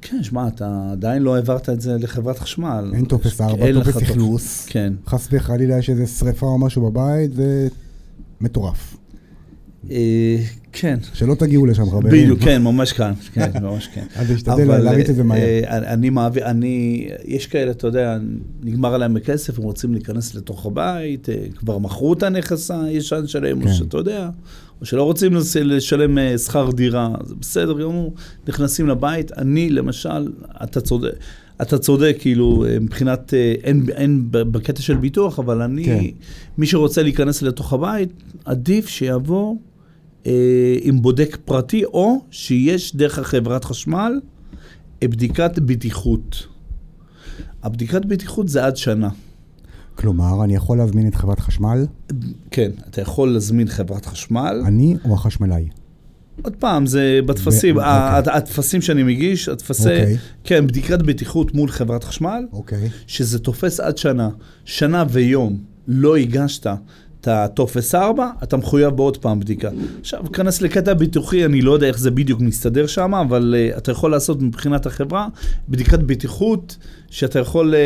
Speaker 2: כן, שמע, אתה עדיין לא העברת את זה לחברת חשמל.
Speaker 1: אין טופס ארבע,
Speaker 2: אין לך
Speaker 1: טופס
Speaker 2: טופס.
Speaker 1: אכלוס.
Speaker 2: כן.
Speaker 1: חס וחלילה יש איזה שריפה או משהו בבית, זה מטורף.
Speaker 2: אה, כן.
Speaker 1: שלא תגיעו לשם, חברים.
Speaker 2: בדיוק, כן, ממש כאן, כן, [laughs] ממש כן.
Speaker 1: אז תשתדל
Speaker 2: אבל,
Speaker 1: להריץ את זה מהר.
Speaker 2: אה, אני- אני מעביר, אני, יש כאלה, אתה יודע, נגמר להם הכסף, הם רוצים להיכנס לתוך הבית, אה, כבר מכרו את הנכס הישן שלהם,
Speaker 1: כן.
Speaker 2: או שאתה יודע, או שלא רוצים לס- לשלם אה, שכר דירה, זה בסדר גמור, נכנסים לבית. אני, למשל, אתה צודק. אתה צודק, כאילו, אה, מבחינת, אה, אין, אין ב- בקטע של ביטוח, אבל אני,
Speaker 1: כן.
Speaker 2: מי שרוצה להיכנס לתוך הבית, עדיף שיבוא אה, עם בודק פרטי, או שיש דרך חברת חשמל אה, בדיקת בטיחות. הבדיקת בטיחות זה עד שנה.
Speaker 1: כלומר, אני יכול להזמין את חברת חשמל,
Speaker 2: כן, אתה יכול להזמין חברת חשמל.
Speaker 1: אני או החשמלאי.
Speaker 2: עוד פעם, זה בטפסים,
Speaker 1: ו-
Speaker 2: ה-
Speaker 1: אוקיי.
Speaker 2: הטפסים שאני מגיש, הטפסי,
Speaker 1: אוקיי.
Speaker 2: כן, בדיקת בטיחות מול חברת חשמל,
Speaker 1: אוקיי.
Speaker 2: שזה תופס עד שנה. שנה ויום לא הגשת את הטופס 4, אתה מחויב בעוד פעם בדיקה. עכשיו, כנס לקטע ביטוחי, אני לא יודע איך זה בדיוק מסתדר שם, אבל uh, אתה יכול לעשות מבחינת החברה בדיקת בטיחות, שאתה יכול uh,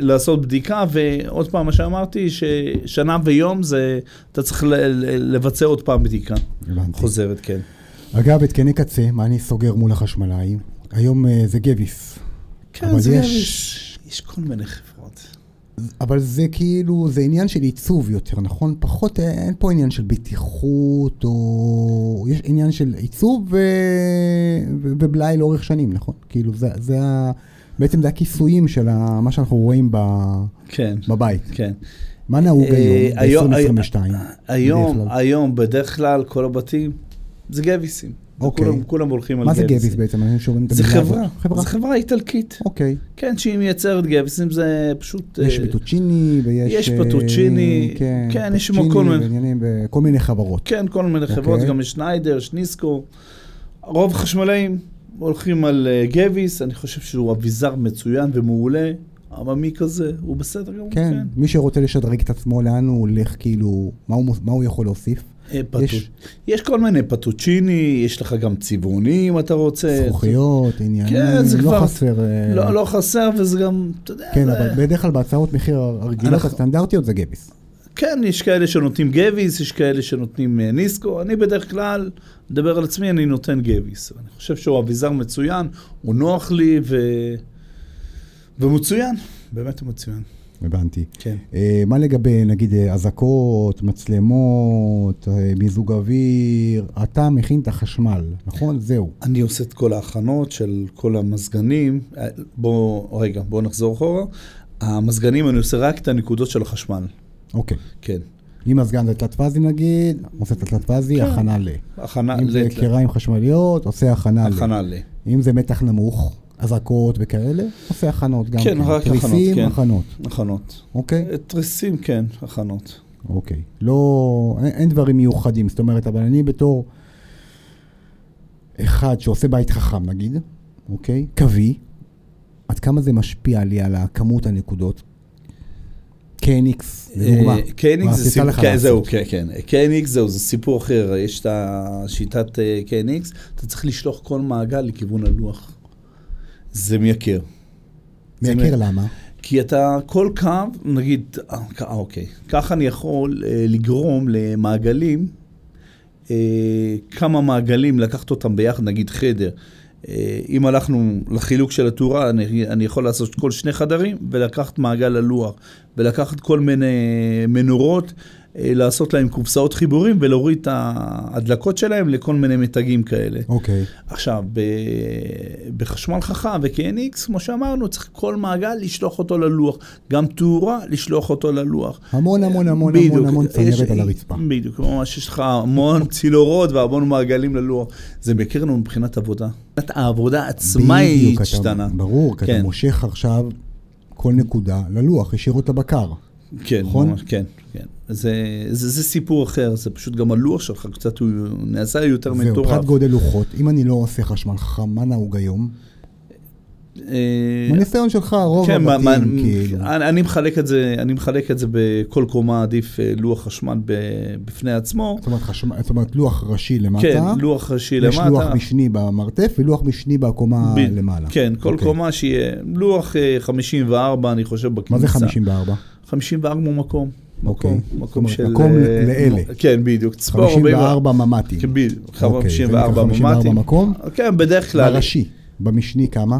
Speaker 2: לעשות בדיקה, ועוד פעם, מה שאמרתי, ששנה ויום זה, אתה צריך ל- ל- לבצע עוד פעם בדיקה.
Speaker 1: הבנתי.
Speaker 2: חוזרת, כן.
Speaker 1: אגב, התקני קצה, מה אני סוגר מול החשמלאי? היום אה, זה גביס.
Speaker 2: כן,
Speaker 1: אבל
Speaker 2: זה
Speaker 1: יש-
Speaker 2: יש... יש כל מיני חברות.
Speaker 1: אבל זה כאילו, זה עניין של עיצוב יותר, נכון? פחות, אה, אין פה עניין של בטיחות, או... יש עניין של עיצוב ו... ו- ובלאי לאורך שנים, נכון? כאילו, זה, זה ה... בעצם זה הכיסויים של ה... מה שאנחנו רואים ב...
Speaker 2: כן,
Speaker 1: בבית.
Speaker 2: כן.
Speaker 1: מה נהוג
Speaker 2: אה,
Speaker 1: היום,
Speaker 2: היום-
Speaker 1: ב-2022?
Speaker 2: היום,
Speaker 1: בדרך כלל?
Speaker 2: היום, בדרך כלל, כל הבתים זה גביסים.
Speaker 1: אוקיי.
Speaker 2: כולם- כולם הולכים על
Speaker 1: מה זה
Speaker 2: גביסים.
Speaker 1: גביס בעצם? אנשים שאומרים את
Speaker 2: אה, זה
Speaker 1: המילה הזאת.
Speaker 2: חברה,
Speaker 1: חברה.
Speaker 2: זה חברה איטלקית.
Speaker 1: אוקיי.
Speaker 2: כן, שהיא מייצרת גביסים, זה פשוט...
Speaker 1: יש
Speaker 2: אה,
Speaker 1: פטוצ'יני ויש...
Speaker 2: יש
Speaker 1: אה,
Speaker 2: פטוצ'יני, כן, יש
Speaker 1: פטוצ'יני
Speaker 2: כל מיני-
Speaker 1: ועניינים בכל מיני חברות.
Speaker 2: כן, כל מיני
Speaker 1: אוקיי.
Speaker 2: חברות, גם שניידר, שניסקו. רוב החשמלאים הולכים על אה, גביס, אני חושב שהוא אביזר מצוין ומעולה, עממי כזה, הוא בסדר גמור,
Speaker 1: כן,
Speaker 2: כן.
Speaker 1: מי שרוצה לשדרג את עצמו, לאן הוא הולך, כאילו, מה הוא, מוס- מה הוא יכול להוסיף?
Speaker 2: אה, פטו-
Speaker 1: יש-
Speaker 2: יש כל מיני פטוצ'יני, יש לך גם צבעוני אם אתה רוצה.
Speaker 1: זכוכיות, עניינים,
Speaker 2: אה, כן, זה
Speaker 1: לא
Speaker 2: כבר-
Speaker 1: חסר. אה,
Speaker 2: לא, לא חסר, וזה גם, אתה יודע,
Speaker 1: כן,
Speaker 2: זה-
Speaker 1: אבל בדרך כלל בהצעות מחיר הרגילות
Speaker 2: אנחנו-
Speaker 1: הסטנדרטיות זה גביס.
Speaker 2: כן, יש כאלה שנותנים גביס, יש כאלה שנותנים אה, ניסקו. אני בדרך כלל, מדבר על עצמי, אני נותן גביס. אני חושב שהוא אביזר מצוין, הוא נוח לי ו... ומצוין. באמת הוא מצוין.
Speaker 1: הבנתי.
Speaker 2: כן.
Speaker 1: אה, מה לגבי, נגיד, אה, אזעקות, מצלמות, אה, מיזוג אוויר? אתה מכין את החשמל, נכון? זהו.
Speaker 2: אני עושה את כל ההכנות של כל המזגנים. אה, בוא, רגע, בוא נחזור אחורה. המזגנים, אני עושה רק את הנקודות של החשמל.
Speaker 1: אוקיי.
Speaker 2: כן.
Speaker 1: אם הסגן זה תלת-פאזי נגיד, עושה את התלת-פאזי,
Speaker 2: כן.
Speaker 1: הכנה ל.
Speaker 2: הכנה
Speaker 1: אם זה
Speaker 2: ל...
Speaker 1: קיריים חשמליות, עושה הכנה ל.
Speaker 2: הכנה ל...
Speaker 1: אם זה מתח נמוך, אזעקות וכאלה, עושה הכנות גם.
Speaker 2: כן, רק הכנות,
Speaker 1: תריסים,
Speaker 2: כן.
Speaker 1: הכנות,
Speaker 2: הכנות.
Speaker 1: אוקיי?
Speaker 2: תריסים, כן, הכנות.
Speaker 1: אוקיי. לא, אין, אין דברים מיוחדים, זאת אומרת, אבל אני בתור אחד שעושה בית חכם נגיד, אוקיי? קווי, עד כמה זה משפיע לי על הכמות הנקודות? קניקס, לדוגמה.
Speaker 2: אה, קניקס
Speaker 1: מה
Speaker 2: זה
Speaker 1: עשית
Speaker 2: סיפור,
Speaker 1: לך
Speaker 2: כן,
Speaker 1: לעשות?
Speaker 2: זהו, כן, כן. קניקס זהו, זה סיפור אחר. יש את השיטת אה, קניקס, אתה צריך לשלוח כל מעגל לכיוון הלוח. זה מייקר. זה
Speaker 1: מייקר למה?
Speaker 2: כי אתה כל קו, נגיד, אה, אה, אוקיי, ככה אני יכול אה, לגרום למעגלים, אה, כמה מעגלים לקחת אותם ביחד, נגיד חדר. אה, אם הלכנו לחילוק של התאורה, אני, אני יכול לעשות כל שני חדרים ולקחת מעגל ללוח, ולקחת כל מיני מנורות, אה, לעשות להם קופסאות חיבורים ולהוריד את ההדלקות שלהם לכל מיני מתגים כאלה.
Speaker 1: אוקיי.
Speaker 2: עכשיו, ב... בחשמל חכם ו-KNX, כמו שאמרנו, צריך כל מעגל לשלוח אותו ללוח. גם תאורה, לשלוח אותו ללוח.
Speaker 1: המון המון המון
Speaker 2: בדיוק.
Speaker 1: המון המון
Speaker 2: יש-
Speaker 1: צנרת על הרצפה.
Speaker 2: בדיוק, ממש יש לך המון צינורות והמון מעגלים ללוח. זה מכיר לנו מבחינת עבודה. מבחינת העבודה עצמה היא
Speaker 1: בדיוק, אתה-
Speaker 2: השתנה.
Speaker 1: ברור, כי אתה
Speaker 2: כן.
Speaker 1: מושך עכשיו כל נקודה ללוח, ישירות לבקר.
Speaker 2: כן,
Speaker 1: נכון?
Speaker 2: ממש, כן, כן. זה, זה, זה סיפור אחר, זה פשוט גם הלוח שלך קצת הוא נעשה יותר
Speaker 1: זהו,
Speaker 2: מטורף.
Speaker 1: פחת גודל לוחות. אם אני לא עושה חשמל חכם, מה נהוג היום?
Speaker 2: אה,
Speaker 1: מהניסיון שלך, רוב
Speaker 2: כן, מה- מה- אה.
Speaker 1: הבתים, כאילו.
Speaker 2: אני, אני מחלק את זה, אני מחלק את זה בכל קומה עדיף אה, לוח חשמל ב, בפני עצמו.
Speaker 1: זאת אומרת, חשמל- זאת אומרת, לוח ראשי למטה.
Speaker 2: כן, לוח ראשי למטה.
Speaker 1: יש לוח משני במרתף ולוח משני בקומה
Speaker 2: ב-
Speaker 1: למעלה.
Speaker 2: כן, כל
Speaker 1: אוקיי.
Speaker 2: קומה שיהיה לוח אה, 54, אני חושב, בכניסה.
Speaker 1: מה זה 54?
Speaker 2: לא, 54 הוא מקום.
Speaker 1: אוקיי.
Speaker 2: מקום,
Speaker 1: זאת אומרת,
Speaker 2: מקום של...
Speaker 1: מקום ל-
Speaker 2: אה,
Speaker 1: לאלה.
Speaker 2: כן, בדיוק. צפור,
Speaker 1: 54 ממ"טים.
Speaker 2: כן, בדיוק.
Speaker 1: אוקיי, זה נקרא
Speaker 2: 54
Speaker 1: 54
Speaker 2: ממ"טים.
Speaker 1: מקום?
Speaker 2: כן, בדרך כלל.
Speaker 1: בראשי. במשני כמה?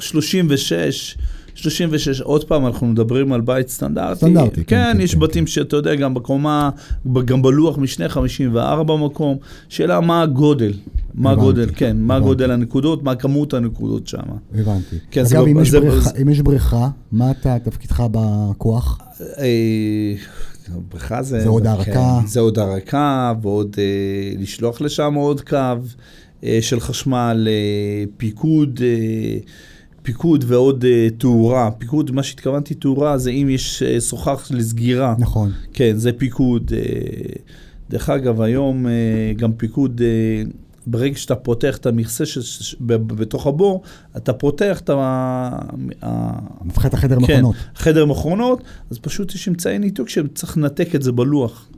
Speaker 2: 36, 36, עוד פעם, אנחנו מדברים על בית סטנדרטי.
Speaker 1: סטנדרטי, כן,
Speaker 2: כן,
Speaker 1: כן,
Speaker 2: יש
Speaker 1: כן,
Speaker 2: בתים שאתה יודע, גם בקומה, ב- גם בלוח משנה 54 מקום. שאלה מה הגודל, מה
Speaker 1: הבנתי,
Speaker 2: הגודל, כן, מה
Speaker 1: הבנתי.
Speaker 2: הגודל הנקודות, מה כמות הנקודות שם.
Speaker 1: הבנתי.
Speaker 2: כן, זה
Speaker 1: אגב,
Speaker 2: לא-
Speaker 1: אם יש
Speaker 2: זה-
Speaker 1: בריכה-
Speaker 2: זה-
Speaker 1: אם יש בריכה, מה אתה, תפקידך בכוח?
Speaker 2: אה, בריכה זה...
Speaker 1: זה עוד
Speaker 2: כן,
Speaker 1: הרקה.
Speaker 2: זה עוד הרקה, ועוד אה, לשלוח לשם עוד קו אה, של חשמל, אה, פיקוד, אה, פיקוד ועוד אה, תאורה. פיקוד, מה שהתכוונתי תאורה זה אם יש אה, סוכך לסגירה.
Speaker 1: נכון.
Speaker 2: כן, זה פיקוד. אה, דרך אגב, היום אה, גם פיקוד, אה, ברגע שאתה פותח את המכסה ש- ש- ב- ב- בתוך הבור, אתה פותח את ה- ה-
Speaker 1: הופכת החדר מכונות.
Speaker 2: כן, חדר מכונות, אז פשוט יש אמצעי ניתוק שצריך לנתק את זה בלוח.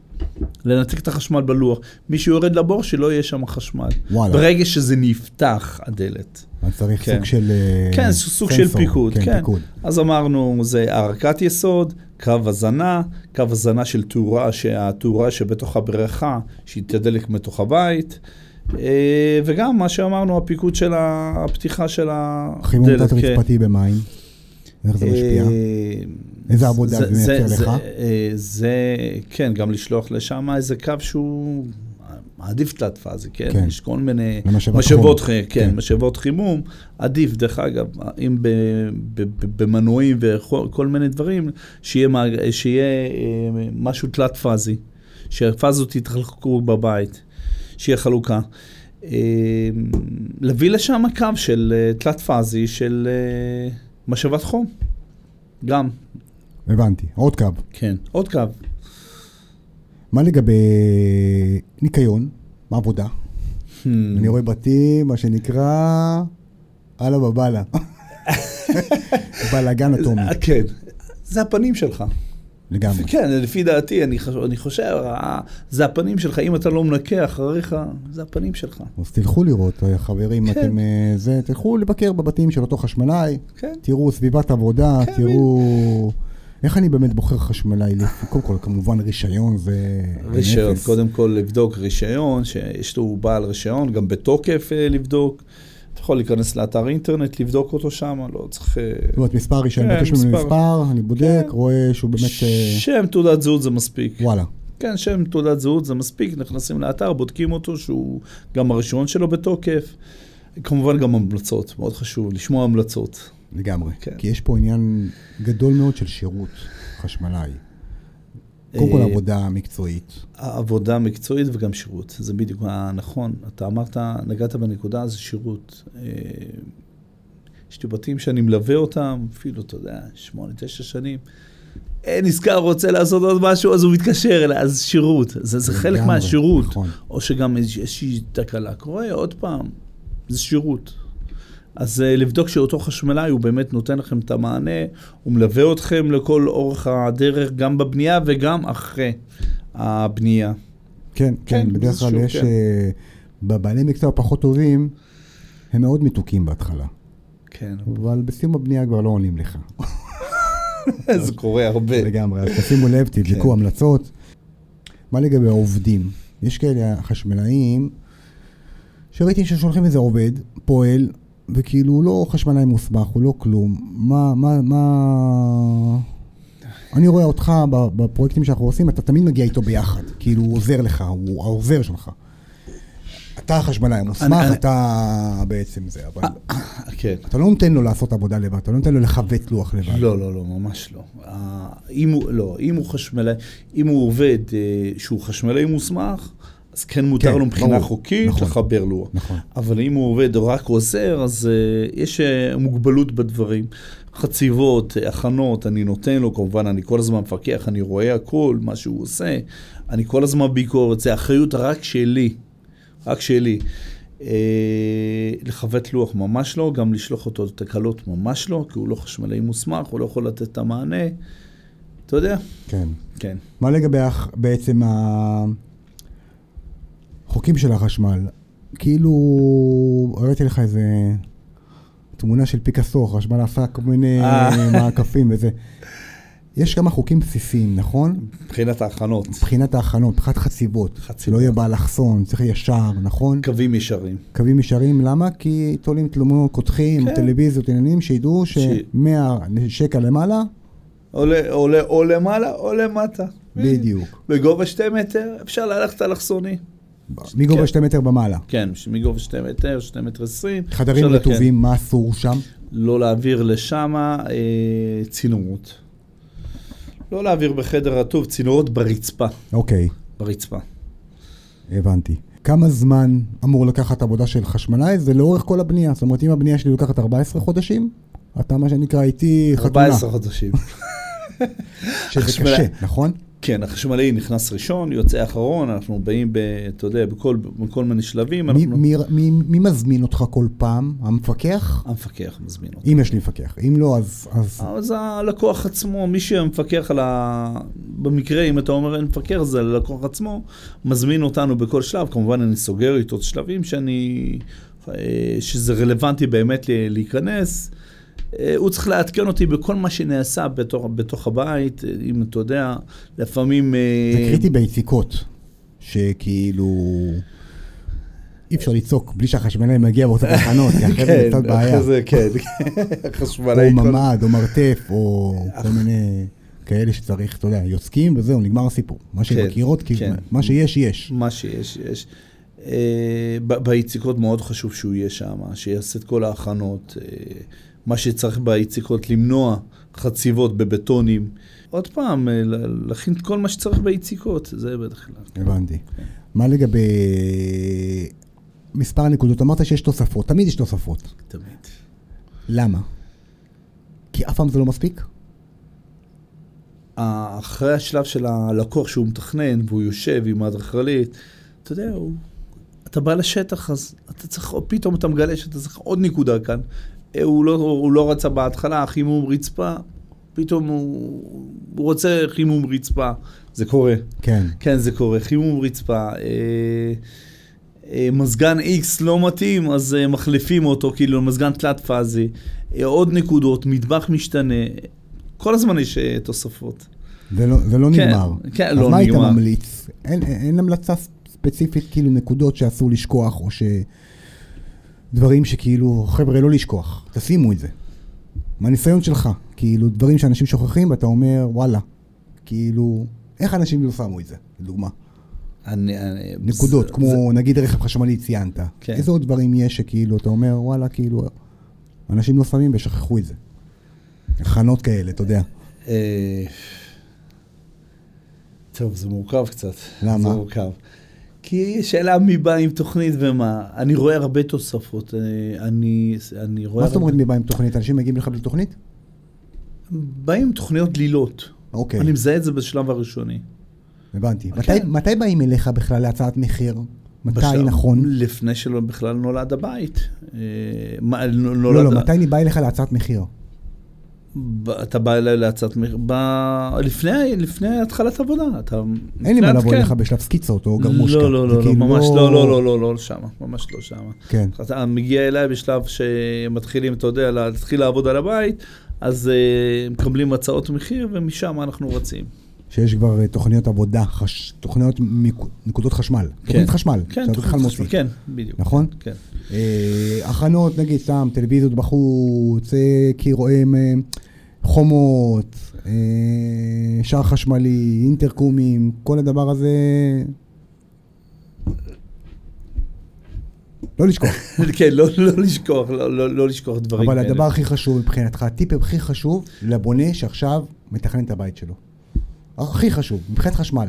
Speaker 2: לנתק את החשמל בלוח. מי שיורד לבור, שלא יהיה שם חשמל.
Speaker 1: וואלה.
Speaker 2: ברגע שזה נפתח, הדלת.
Speaker 1: אז צריך
Speaker 2: כן.
Speaker 1: סוג של... אה,
Speaker 2: כן, סוג סוג של
Speaker 1: סנסור.
Speaker 2: פיקוד.
Speaker 1: כן, פיקוד.
Speaker 2: אז אמרנו, זה ערכת יסוד, קו הזנה, קו הזנה של תאורה, שהתאורה שבתוך הבריכה, שהיא תדלק בתוך הבית. אה, וגם מה שאמרנו, הפיקוד של הפתיחה של הדלת.
Speaker 1: חימום
Speaker 2: כן.
Speaker 1: תת-רצפתי במים. איך זה משפיע?
Speaker 2: אה,
Speaker 1: איזה עבודה זה מייצר
Speaker 2: זה-
Speaker 1: לך?
Speaker 2: אה, זה, כן, גם לשלוח לשם איזה קו שהוא עדיף תלת פאזי, כן?
Speaker 1: כן.
Speaker 2: יש כל מיני
Speaker 1: למשאבת
Speaker 2: משאבות,
Speaker 1: חום.
Speaker 2: חי-
Speaker 1: כן.
Speaker 2: כן, משאבות חימום, עדיף, דרך אגב, אם ב- ב- ב- במנועים וכל מיני דברים, שיהיה מע- שיהיה אה, משהו תלת פאזי, שהפאזות יתחלקו בבית, שיהיה חלוקה. אה, להביא לשם קו של אה, תלת פאזי של אה, משאבת חום, גם.
Speaker 1: הבנתי. עוד קו.
Speaker 2: כן. עוד קו.
Speaker 1: מה לגבי ניקיון? מה עבודה?
Speaker 2: Mm.
Speaker 1: אני רואה בתים, מה שנקרא, אללה
Speaker 2: [laughs]
Speaker 1: בבאללה. בלאגן אטומי,
Speaker 2: אה, כן. זה הפנים שלך.
Speaker 1: לגמרי.
Speaker 2: כן, לפי דעתי, אני חושב, אני חושב אה, זה הפנים שלך. אם אתה לא מנקה אחריך, זה הפנים שלך.
Speaker 1: אז תלכו לראות, אה, חברים,
Speaker 2: כן.
Speaker 1: אתם אה, זה, תלכו לבקר בבתים של אותו חשמלאי,
Speaker 2: כן.
Speaker 1: תראו סביבת עבודה,
Speaker 2: כן,
Speaker 1: תראו... איך אני באמת בוחר חשמלאי? לפי- קודם כל, כמובן, רישיון זה...
Speaker 2: רישיון,
Speaker 1: נכס.
Speaker 2: קודם כל לבדוק רישיון, שיש לו בעל רישיון, גם בתוקף אה, לבדוק. אתה יכול להיכנס לאתר אינטרנט, לבדוק אותו שם, לא צריך... אה,
Speaker 1: זאת אומרת, מספר רישיון,
Speaker 2: כן,
Speaker 1: מבקש ממנו
Speaker 2: מספר.
Speaker 1: מספר, אני בודק,
Speaker 2: כן.
Speaker 1: רואה שהוא באמת... אה,
Speaker 2: שם תעודת זהות זה מספיק.
Speaker 1: וואלה.
Speaker 2: כן, שם תעודת זהות זה מספיק, נכנסים לאתר, בודקים אותו, שהוא גם הרישיון שלו בתוקף. כמובן גם המלצות, מאוד חשוב לשמוע המלצות.
Speaker 1: לגמרי.
Speaker 2: כן.
Speaker 1: כי יש פה עניין גדול מאוד של שירות חשמלאי. קודם כל
Speaker 2: אה,
Speaker 1: עבודה מקצועית.
Speaker 2: העבודה המקצועית וגם שירות, זה בדיוק הנכון. אתה אמרת, נגעת בנקודה, זה שירות. אה, יש לי בתים שאני מלווה אותם, אפילו, אתה יודע, שמונה, תשע שנים. אה, נזכר, רוצה לעשות עוד משהו, אז הוא מתקשר אליי, אז שירות. זה, זה חלק
Speaker 1: לגמרי,
Speaker 2: מהשירות.
Speaker 1: נכון.
Speaker 2: או שגם איזוש- איזושהי תקלה קורה, עוד פעם, זה שירות. אז אה, לבדוק שאותו חשמלאי, הוא באמת נותן לכם את המענה, הוא מלווה אתכם לכל אורך הדרך, גם בבנייה וגם אחרי הבנייה.
Speaker 1: כן, כן,
Speaker 2: כן,
Speaker 1: בדרך כלל
Speaker 2: איזשהו,
Speaker 1: יש...
Speaker 2: כן.
Speaker 1: אה, בבעלי מקצוע פחות טובים, הם מאוד מתוקים בהתחלה.
Speaker 2: כן,
Speaker 1: אבל בסיום הבנייה כבר לא עונים לך.
Speaker 2: זה קורה הרבה.
Speaker 1: לגמרי, אז
Speaker 2: כן.
Speaker 1: תשימו לב, תבדקו המלצות. מה לגבי העובדים? יש כאלה חשמלאים שראיתי ששולחים איזה עובד, פועל, וכאילו הוא לא חשמלאי מוסמך, הוא לא כלום. מה, מה, מה... אני רואה אותך ב- בפרויקטים שאנחנו עושים, אתה תמיד מגיע איתו ביחד. כאילו הוא עוזר לך, הוא העוזר שלך. אתה החשמלאי המוסמך,
Speaker 2: אני-
Speaker 1: אתה בעצם זה, אבל
Speaker 2: כן.
Speaker 1: אתה לא נותן לו לעשות עבודה לבד, אתה לא נותן לו לכווץ לוח לבד.
Speaker 2: לא, לא, לא, ממש לא. אה, אם הוא, לא, אם הוא חשמלאי, אם הוא עובד אה, שהוא חשמלאי מוסמך, אז כן מותר
Speaker 1: כן,
Speaker 2: לו מבחינה
Speaker 1: ברור,
Speaker 2: חוקית
Speaker 1: נכון.
Speaker 2: לחבר לוח.
Speaker 1: נכון.
Speaker 2: אבל אם הוא עובד או רק עוזר, אז אה, יש אה, מוגבלות בדברים. חציבות, אה, הכנות, אני נותן לו, כמובן, אני כל הזמן מפקח, אני רואה הכל, מה שהוא עושה. אני כל הזמן ביקורת, זה אחריות רק שלי. רק שלי. אה, לכבט לוח ממש לא, גם לשלוח אותו לתקלות ממש לא, כי הוא לא חשמלאי מוסמך, הוא לא יכול לתת את המענה. אתה יודע?
Speaker 1: כן.
Speaker 2: כן.
Speaker 1: מה לגבי הח- בעצם החוקים של החשמל? כאילו, הראיתי לך איזה תמונה של פיקאסו, חשמל עשה כל מיני
Speaker 2: אה.
Speaker 1: [laughs] מעקפים וזה. יש כמה חוקים בסיסיים, נכון?
Speaker 2: מבחינת ההכנות,
Speaker 1: מבחינת ההכנות, מבחינת חציבות. שלא יהיה בעל אלכסון, צריך יהיה ישר, נכון?
Speaker 2: קווים ישרים.
Speaker 1: קווים ישרים, למה? כי תולים תלומות, קודחים,
Speaker 2: כן.
Speaker 1: טלוויזיות, עניינים, שידעו ש-100 שקל למעלה,
Speaker 2: עולה, עולה, או למעלה או למטה.
Speaker 1: בדיוק.
Speaker 2: בגובה שתי מטר, אפשר ללכת אלכסוני.
Speaker 1: מגובה
Speaker 2: כן.
Speaker 1: 2 מטר במעלה.
Speaker 2: כן, מגובה שתי מטר, שתי מטר עשרים.
Speaker 1: חדרים
Speaker 2: אפשר ללכת-
Speaker 1: רטובים, מה אסור שם?
Speaker 2: לא להעביר לשם אה, צינורות. לא להעביר בחדר רטוב, צינורות ברצפה.
Speaker 1: אוקיי,
Speaker 2: ברצפה.
Speaker 1: הבנתי. כמה זמן אמור לקחת עבודה של חשמלאי? זה לאורך כל הבנייה. זאת אומרת, אם הבנייה שלי לוקחת 14 חודשים, אתה מה שנקרא איתי חתונה.
Speaker 2: 14 חודשים.
Speaker 1: שזה
Speaker 2: חשמלאי.
Speaker 1: קשה, נכון?
Speaker 2: [laughs] כן, החשמלאי נכנס ראשון, יוצא אחרון, אנחנו באים, ב, אתה יודע, בכל, בכל מיני שלבים,
Speaker 1: מי,
Speaker 2: אנחנו...
Speaker 1: מי, מי, מי מזמין אותך כל פעם? המפקח?
Speaker 2: המפקח מזמין אותנו.
Speaker 1: אם יש לי מפקח. אם לא, אז... אז...
Speaker 2: אז הלקוח עצמו, מי שמפקח על ה... במקרה, אם אתה אומר אין מפקח, זה הלקוח עצמו, מזמין אותנו בכל שלב. כמובן, אני סוגר איתו שלבים שאני... אה, שזה רלוונטי באמת ל- להיכנס. אה, הוא צריך לעדכן אותי בכל מה שנעשה בתוך, בתוך הבית, אה, אם אתה יודע, לפעמים... אה,
Speaker 1: זה קריטי ביציקות, שכאילו... אי אפשר לצעוק בלי שהחשמלאי מגיע באותן
Speaker 2: [laughs]
Speaker 1: תחנות, כי אחרי זה
Speaker 2: כן,
Speaker 1: זה קצת בעיה.
Speaker 2: אחרי זה, כן, [laughs] חשמלאי.
Speaker 1: או
Speaker 2: כל-
Speaker 1: ממ"ד, או מרתף, או כל מיני כאלה שצריך, אתה יודע, יוצקים וזהו, נגמר הסיפור. מה
Speaker 2: כן,
Speaker 1: שמכירות, כאילו,
Speaker 2: כן.
Speaker 1: מה שיש, יש.
Speaker 2: מה שיש, יש. אה, ב- ביציקות מאוד חשוב שהוא יהיה שם, שיעשה את כל ההכנות, אה, מה שצריך ביציקות, למנוע חציבות בבטונים. עוד פעם, אה, ל- להכין את כל מה שצריך ביציקות, זה בטח כלל.
Speaker 1: הבנתי. מה לגבי מספר הנקודות? אמרת שיש תוספות, תמיד יש תוספות.
Speaker 2: תמיד.
Speaker 1: למה? כי אף פעם זה לא מספיק?
Speaker 2: ה- אחרי השלב של הלקוח שהוא מתכנן, והוא יושב עם האדריכלית, אתה יודע, הוא... אתה בא לשטח, אז אתה צריך, או פתאום אתה מגלה שאתה צריך עוד נקודה כאן. אה, הוא לא, הוא לא רצה בהתחלה חימום רצפה, פתאום הוא, הוא רוצה חימום רצפה. זה קורה.
Speaker 1: כן.
Speaker 2: כן, זה קורה. חימום רצפה. אה, אה, מזגן X לא מתאים, אז אה, מחליפים אותו, כאילו, מזגן תלת פאזי. אה, עוד נקודות, מטבח משתנה. כל הזמן יש אה, תוספות.
Speaker 1: זה לא, זה לא
Speaker 2: כן,
Speaker 1: נגמר.
Speaker 2: כן,
Speaker 1: אז
Speaker 2: לא
Speaker 1: מה היית
Speaker 2: נגמר.
Speaker 1: ממליץ? אין, אין, אין המלצה ספציפית, כאילו, נקודות שאסור לשכוח, או ש... דברים שכאילו, חבר'ה, לא לשכוח, תשימו את זה. מהניסיון שלך, כאילו, דברים שאנשים שוכחים, ואתה אומר, וואלה, כאילו, איך אנשים לא שמו את זה, לדוגמה?
Speaker 2: אני, אני,
Speaker 1: נקודות,
Speaker 2: זה-
Speaker 1: כמו
Speaker 2: זה,
Speaker 1: נגיד רכב חשמלי ציינת.
Speaker 2: כן.
Speaker 1: איזה עוד דברים יש שכאילו, אתה אומר, וואלה, כאילו, אנשים לא שמים ושכחו את זה. הכנות כאלה, אתה יודע.
Speaker 2: אה, טוב, זה מורכב קצת.
Speaker 1: למה?
Speaker 2: זה מורכב. כי שאלה מי בא עם תוכנית ומה. אני רואה הרבה תוספות. אה, אני, אני רואה...
Speaker 1: מה זאת
Speaker 2: הרבה-
Speaker 1: אומרת מי בא עם תוכנית? אנשים מגיעים לך בלי תוכנית?
Speaker 2: באים עם תוכניות דלילות.
Speaker 1: אוקיי,
Speaker 2: אני מזהה את זה בשלב הראשוני.
Speaker 1: הבנתי.
Speaker 2: כן.
Speaker 1: מתי- מתי באים אליך בכלל להצעת מחיר? מתי
Speaker 2: בשלב- לא,
Speaker 1: נכון?
Speaker 2: לפני שלא בכלל נולד הבית. אה, מה, נ- נולד...
Speaker 1: לא, לא, מתי אני בא אליך להצעת מחיר?
Speaker 2: ב- אתה בא אליי להצעת מחיר, ב... לפני, לפני התחלת עבודה. אתה...
Speaker 1: אין לי
Speaker 2: לפני
Speaker 1: מה
Speaker 2: התקן.
Speaker 1: לבוא אליך בשלב סקיצות או גרמושקה.
Speaker 2: כן. לא, לא,
Speaker 1: זה
Speaker 2: לא, לא,
Speaker 1: כאילו
Speaker 2: ממש לא, לא, לא, לא, לא שמה, ממש לא שמה.
Speaker 1: כן.
Speaker 2: אתה מגיע אליי בשלב שמתחילים, אתה יודע, להתחיל לעבוד על הבית, אז אה, מקבלים הצעות מחיר, ומשם אנחנו רצים. כן,
Speaker 1: שיש כבר אה, תוכניות עבודה, חש- תוכניות מיק- נקודות חשמל. תוכנית חשמל.
Speaker 2: כן,
Speaker 1: שאתה בכלל מוציא.
Speaker 2: כן, בדיוק.
Speaker 1: נכון?
Speaker 2: כן. [laughs]
Speaker 1: אה, הכנות, נגיד, סתם, טלוויזיות בחוץ, אה, כי רואים אה, חומות, אה, שער חשמלי, אינטרקומים, כל הדבר הזה... לא לשכוח,
Speaker 2: כן, לא, לא לשכוח, לא, לא, לא לשכוח דברים
Speaker 1: אבל
Speaker 2: כאלה.
Speaker 1: הדבר הכי חשוב מבחינתך, הטיפ הכי חשוב לבונה שעכשיו מתכנן את הבית שלו. הכי חשוב, מבחינת חשמל.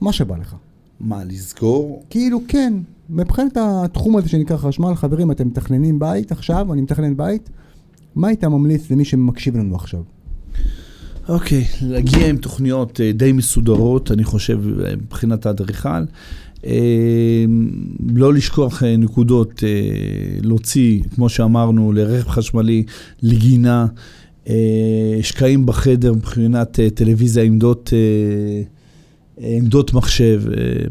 Speaker 1: מה שבא לך.
Speaker 2: מה, לזכור?
Speaker 1: כאילו כן, מבחינת התחום הזה שנקרא חשמל, חברים, אתם מתכננים בית עכשיו, אני מתכנן בית, מה היית ממליץ למי שמקשיב לנו עכשיו?
Speaker 2: אוקיי, להגיע עם תוכניות אה, די מסודרות, אני חושב, אה, מבחינת האדריכל. אה, לא לשכוח אה, נקודות, אה, להוציא, כמו שאמרנו, לרכב חשמלי, לגינה, אה, שקעים בחדר מבחינת אה, טלוויזיה, עמדות, אה, אה, עמדות מחשב. אה,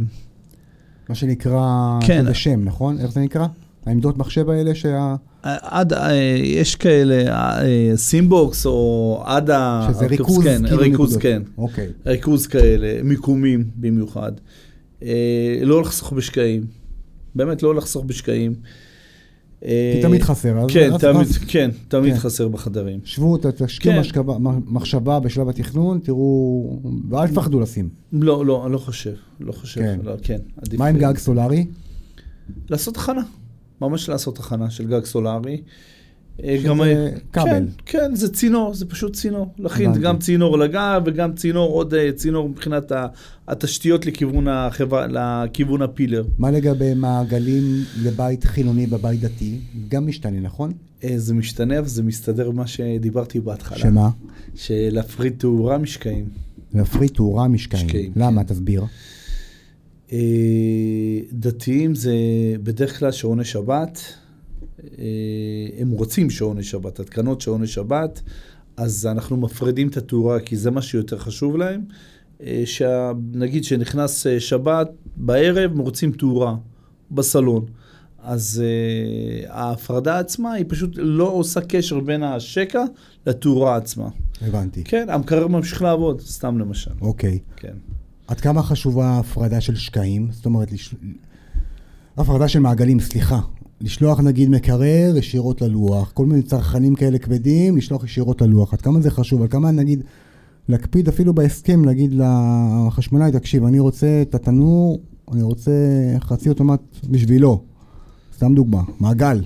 Speaker 1: מה שנקרא,
Speaker 2: כן.
Speaker 1: זה שם, נכון? איך זה נקרא? העמדות מחשב האלה שה...
Speaker 2: עד, אה, יש כאלה, אה, סימבוקס או עד ה...
Speaker 1: שזה ריכוז,
Speaker 2: כן,
Speaker 1: כאילו
Speaker 2: ריכוז,
Speaker 1: נקודות.
Speaker 2: כן.
Speaker 1: אוקיי.
Speaker 2: ריכוז כאלה, מיקומים במיוחד. אה, לא לחסוך בשקעים. באמת לא לחסוך בשקעים. אה,
Speaker 1: כי תמיד חסר, אז
Speaker 2: כן,
Speaker 1: רץ,
Speaker 2: תמיד,
Speaker 1: רץ.
Speaker 2: כן, תמיד
Speaker 1: כן.
Speaker 2: חסר בחדרים.
Speaker 1: שבו, ת- תשקיעו
Speaker 2: כן.
Speaker 1: משכבה- מ- מחשבה בשלב התכנון, תראו, ואל תפחדו לשים.
Speaker 2: לא, לא, אני לא חושב. לא חושב.
Speaker 1: כן.
Speaker 2: כן, לא, כן עדיף.
Speaker 1: מה עם
Speaker 2: אה,
Speaker 1: גג סולארי?
Speaker 2: לעשות הכנה. ממש לעשות הכנה של גג סולארי. אה,
Speaker 1: שזה
Speaker 2: אה,
Speaker 1: כבל.
Speaker 2: כן, כן, זה צינור, זה פשוט צינור. להכין
Speaker 1: הבנתי.
Speaker 2: גם צינור לגב וגם צינור, עוד אה, צינור מבחינת ה- התשתיות לכיוון, החברה, לכיוון הפילר.
Speaker 1: מה לגבי מעגלים לבית חילוני בבית דתי? גם משתנה, נכון?
Speaker 2: אה, זה משתנה וזה מסתדר עם מה שדיברתי בהתחלה.
Speaker 1: שמה?
Speaker 2: שלהפריד תאורה משקעים.
Speaker 1: להפריד תאורה משקעים.
Speaker 2: משקעים, כן.
Speaker 1: למה? תסביר.
Speaker 2: אה, דתיים זה בדרך כלל שעוני שבת, אה, הם רוצים שעוני שבת, התקנות שעוני שבת, אז אנחנו מפרידים את התאורה כי זה מה שיותר חשוב להם. אה, שה- נגיד שנכנס אה, שבת בערב, הם רוצים תאורה בסלון. אז uh, ההפרדה עצמה היא פשוט לא עושה קשר בין השקע לתאורה עצמה.
Speaker 1: הבנתי.
Speaker 2: כן, המקרר ממשיך לעבוד, סתם למשל,
Speaker 1: אוקיי.
Speaker 2: כן.
Speaker 1: עד כמה חשובה ההפרדה של שקעים? זאת אומרת, לש... הפרדה של מעגלים, סליחה. לשלוח נגיד מקרר ישירות ללוח, כל מיני צרכנים כאלה כבדים, לשלוח ישירות ללוח. עד כמה זה חשוב? עד כמה נגיד להקפיד אפילו בהסכם, להגיד לחשמלאי, תקשיב, אני רוצה את התנור, אני רוצה חצי אוטומט בשבילו. סתם דוגמה, מעגל.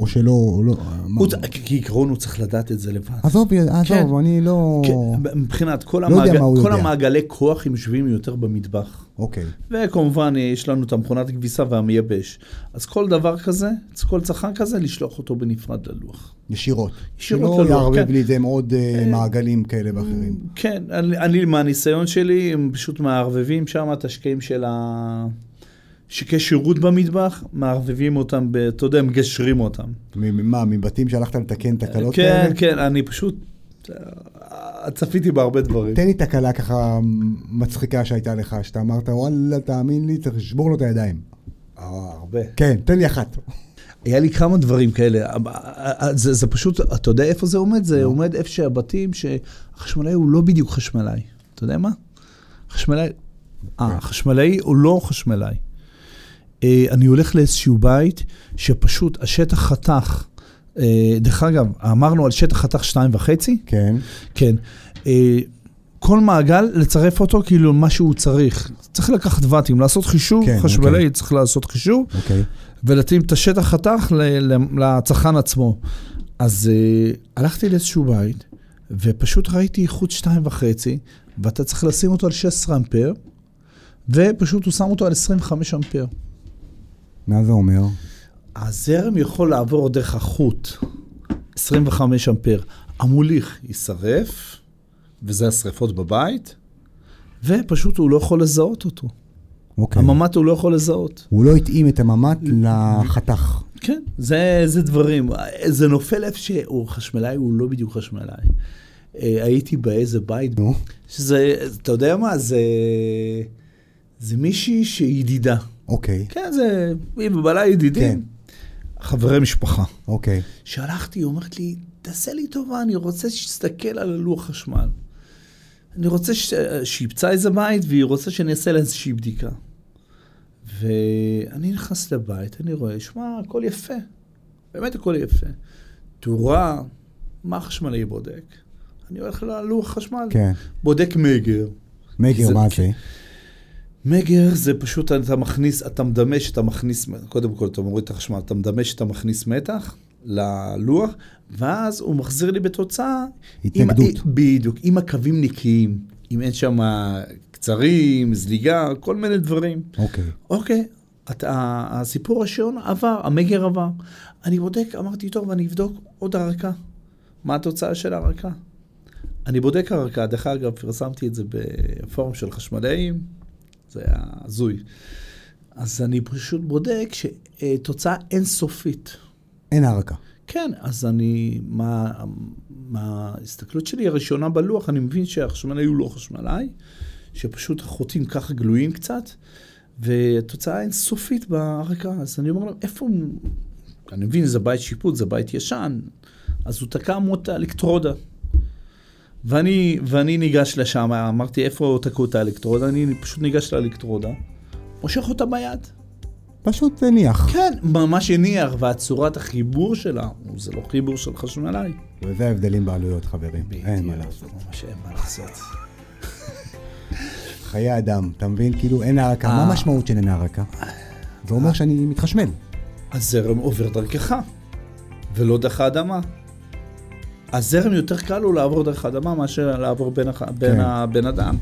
Speaker 1: או שלא, או לא. מה-
Speaker 2: הוא, צ- כעיקרון הוא צריך לדעת את זה לבד.
Speaker 1: עזוב, עזוב,
Speaker 2: כן.
Speaker 1: אני לא...
Speaker 2: כן, מבחינת כל,
Speaker 1: אה, לא יודע
Speaker 2: המעגל,
Speaker 1: מה הוא
Speaker 2: כל
Speaker 1: יודע.
Speaker 2: המעגלי כוח הם יושבים יותר במטבח.
Speaker 1: אוקיי.
Speaker 2: וכמובן אה, יש לנו את המכונת הכביסה והמייבש. אז כל דבר כזה, כל צרכן כזה, לשלוח אותו בנפרד ללוח.
Speaker 1: ישירות.
Speaker 2: ישירות
Speaker 1: שלא
Speaker 2: ללוח,
Speaker 1: יערבב
Speaker 2: כן.
Speaker 1: לי את זה עם עוד אה,
Speaker 2: אה,
Speaker 1: מעגלים כאלה ואחרים.
Speaker 2: כן, אני, אני מהניסיון שלי, הם פשוט מערבבים שם את השקעים של ה... שקי שירות במטבח, מערבבים אותם, ב- אתה יודע, מגשרים אותם.
Speaker 1: מ- מ- מה, מבתים שהלכת לתקן תקלות
Speaker 2: כן,
Speaker 1: כאלה?
Speaker 2: כן, אני פשוט אה, צפיתי בהרבה דברים.
Speaker 1: תן לי תקלה ככה מצחיקה שהייתה לך, שאתה אמרת, וואלה, תאמין לי, צריך לשבור לו את הידיים.
Speaker 2: אה, הרבה.
Speaker 1: כן, תן לי אחת.
Speaker 2: היה לי כמה דברים כאלה, זה, זה פשוט, אתה יודע איפה זה עומד? זה עומד איפה שהבתים, שהחשמלאי הוא לא בדיוק חשמלאי. אתה יודע מה? חשמלאי, אה, החשמלאי הוא לא חשמלאי. אה, אני הולך לאיזשהו בית שפשוט השטח חתך. אה, דרך אגב, אמרנו על שטח חתך שתיים וחצי?
Speaker 1: כן,
Speaker 2: כן. אה, כל מעגל, לצרף אותו כאילו מה שהוא צריך. צריך לקחת ואטים, לעשות חישוב,
Speaker 1: כן,
Speaker 2: חשמלאי
Speaker 1: אוקיי.
Speaker 2: צריך לעשות חישוב.
Speaker 1: אוקיי.
Speaker 2: ולהתאים את השטח חתך ל- ל- לצרכן עצמו. אז uh, הלכתי לאיזשהו בית, ופשוט ראיתי איכות שתיים וחצי, ואתה צריך לשים אותו על 16 אמפר, ופשוט הוא שם אותו על 25 אמפר.
Speaker 1: מה זה אומר?
Speaker 2: הזרם יכול לעבור דרך החוט, 25 אמפר. המוליך יישרף, וזה השריפות בבית, ופשוט הוא לא יכול לזהות אותו.
Speaker 1: אוקיי.
Speaker 2: הממ"ט הוא לא יכול לזהות.
Speaker 1: הוא לא התאים את הממ"ט לחתך.
Speaker 2: כן, זה, זה דברים. זה נופל איפה שהוא חשמלאי, הוא לא בדיוק חשמלאי. אה, הייתי באיזה בית,
Speaker 1: נו,
Speaker 2: שזה, אתה יודע מה, זה, זה מישהי שהיא ידידה.
Speaker 1: אוקיי,
Speaker 2: כן, זה, היא ובעלה ידידים. חברי משפחה.
Speaker 1: אוקיי.
Speaker 2: שהלכתי, היא אומרת לי, תעשה לי טובה, אני רוצה שתסתכל על לוח חשמל. אני רוצה ש... שיפצה איזה בית, והיא רוצה שאני אעשה לה איזושהי בדיקה. ואני נכנס לבית, אני רואה, שמע, הכל יפה. באמת הכל יפה. תאורה, מה החשמלאי בודק? אני הולך ללוח חשמל,
Speaker 1: כן.
Speaker 2: בודק מגר.
Speaker 1: מגר,
Speaker 2: זה- כן.
Speaker 1: מה זה?
Speaker 2: מגר זה פשוט אתה מכניס, אתה מדמה שאתה מכניס, קודם כל אתה מוריד את החשמל, אתה מדמה שאתה מכניס מתח ללוח, ואז הוא מחזיר לי בתוצאה. עם-
Speaker 1: התנגדות.
Speaker 2: בדיוק, אם הקווים נקיים, אם אין שם קצרים, זליגה, כל מיני דברים.
Speaker 1: אוקיי.
Speaker 2: אוקיי, אתה, הסיפור השעון עבר, המגר עבר. אני בודק, אמרתי, טוב, אני אבדוק עוד הרקה. מה התוצאה של הרקה? אני בודק הרקה, דרך אגב, פרסמתי את זה בפורום של חשמלאים, זה היה הזוי. אז אני פשוט בודק שתוצאה אינסופית.
Speaker 1: אין הערקה.
Speaker 2: כן, אז אני, מה, מה ההסתכלות שלי הראשונה בלוח, אני מבין שהחשמלאי הוא לא חשמלאי, שפשוט החוטים ככה גלויים קצת, והתוצאה אינסופית בהרקה. אז אני אומר להם, איפה הוא... אני מבין, זה בית שיפוט, זה בית ישן, אז הוא תקע מות אלקטרודה. ואני, ואני ניגש לשם, אמרתי, איפה תקעו את האלקטרודה? אני פשוט ניגש לאלקטרודה, מושך אותה ביד.
Speaker 1: פשוט הניח.
Speaker 2: כן, ממש הניח, והצורת החיבור שלה, זה לא חיבור של חשמלאי.
Speaker 1: וזה ההבדלים בעלויות, חברים. אין מה
Speaker 2: כן. בדיוק,
Speaker 1: לעשות.
Speaker 2: ממש אין מה לעשות.
Speaker 1: חיי אדם, אתה מבין? כאילו, אין הערקה.
Speaker 2: אה.
Speaker 1: מה המשמעות של אין הערקה? זה אומר שאני מתחשמל.
Speaker 2: הזרם עובר דרכך, ולא דרך האדמה. הזרם יותר קל לו לעבור דרך האדמה מאשר לעבור בין, הח... בין
Speaker 1: כן.
Speaker 2: הבן אדם.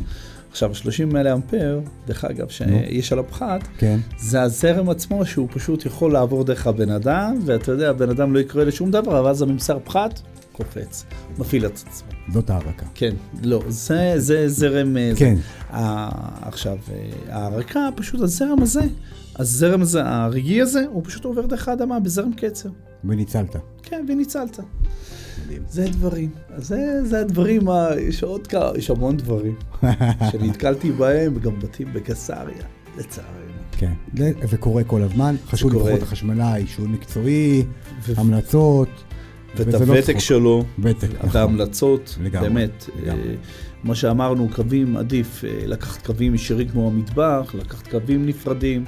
Speaker 2: עכשיו, 30 מילי אמפר, דרך אגב, שיש עליו פחת,
Speaker 1: כן.
Speaker 2: זה הזרם עצמו שהוא פשוט יכול לעבור דרך הבן אדם, ואתה יודע, הבן אדם לא יקרה לשום דבר, אבל אז הממסר פחת קופץ, מפעיל את עצמו.
Speaker 1: זאת הערקה.
Speaker 2: כן, לא, זה, זה זרם... אה,
Speaker 1: כן.
Speaker 2: זה. ה- עכשיו, אה, ההרקה, פשוט הזרם הזה, הזרם הזה, הרגעי הזה, הוא פשוט עובר דרך האדמה בזרם קצר.
Speaker 1: וניצלת. [laughs]
Speaker 2: כן, וניצלת. זה דברים. אז זה, זה הדברים, ה... יש עוד כמה, יש המון
Speaker 1: [laughs]
Speaker 2: דברים שנתקלתי בהם, גם בתים בקיסריה, לצערנו.
Speaker 1: כן. זה- זה קורה כל הזמן. חשוב
Speaker 2: קורה.
Speaker 1: לבחור את החשמלאי, שהוא מקצועי,
Speaker 2: ו-
Speaker 1: המלצות.
Speaker 2: ואת
Speaker 1: וזה לא
Speaker 2: הוותק
Speaker 1: צחוק.
Speaker 2: שלו,
Speaker 1: ותק,
Speaker 2: את
Speaker 1: נכון.
Speaker 2: ההמלצות,
Speaker 1: לגמרי,
Speaker 2: באמת,
Speaker 1: לגמרי.
Speaker 2: אה, מה שאמרנו, קווים, עדיף אה, לקחת קווים ישירים כמו המטבח, לקחת קווים נפרדים,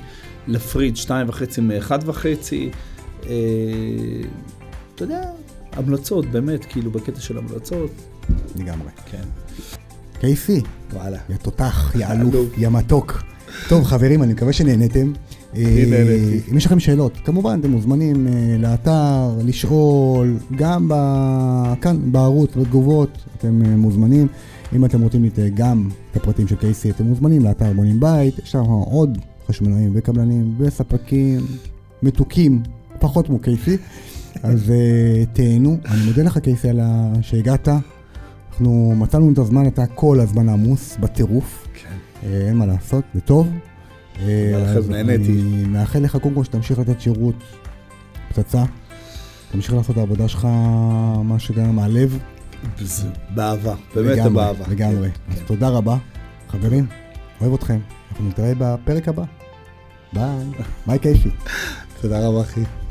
Speaker 2: להפריד שתיים וחצי מאחד וחצי, אה, אתה יודע, המלצות, באמת, כאילו, בקטע של המלצות,
Speaker 1: לגמרי.
Speaker 2: כן,
Speaker 1: קייסי,
Speaker 2: וואלה.
Speaker 1: יא תותח, יא אלוף,
Speaker 2: אלוף.
Speaker 1: יא מתוק. טוב, חברים, אני מקווה שנהנתם. אה,
Speaker 2: נהניתי.
Speaker 1: אם יש לכם שאלות, כמובן, אתם מוזמנים אה, לאתר, לשאול, גם ב... כאן בערוץ, בתגובות, אתם אה, מוזמנים. אם אתם רוצים לת... גם את הפרטים של קייסי, אתם מוזמנים לאתר בונים בית, יש לנו עוד חשמלאים וקבלנים וספקים מתוקים, פחות כמו קייסי. אז אה, תהנו, אני מודה לך קייסי על ה- שהגעת. אנחנו מצאנו את הזמן, אתה כל הזמן עמוס, בטירוף.
Speaker 2: כן.
Speaker 1: אה, אין מה לעשות, זה טוב. אה,
Speaker 2: תודה לכם,
Speaker 1: אז
Speaker 2: נהניתי.
Speaker 1: אני מאחל לך קודם כל שתמשיך לתת שירות פצצה. תמשיך לעשות את העבודה שלך, מה שגם מהלב.
Speaker 2: זה באהבה, באמת
Speaker 1: לגמרי,
Speaker 2: באהבה.
Speaker 1: לגמרי. אז תודה רבה. חברים, אוהב
Speaker 2: [laughs]
Speaker 1: אתכם. אנחנו נתראה בפרק הבא. ביי. ביי קייפי.
Speaker 2: תודה רבה, אחי.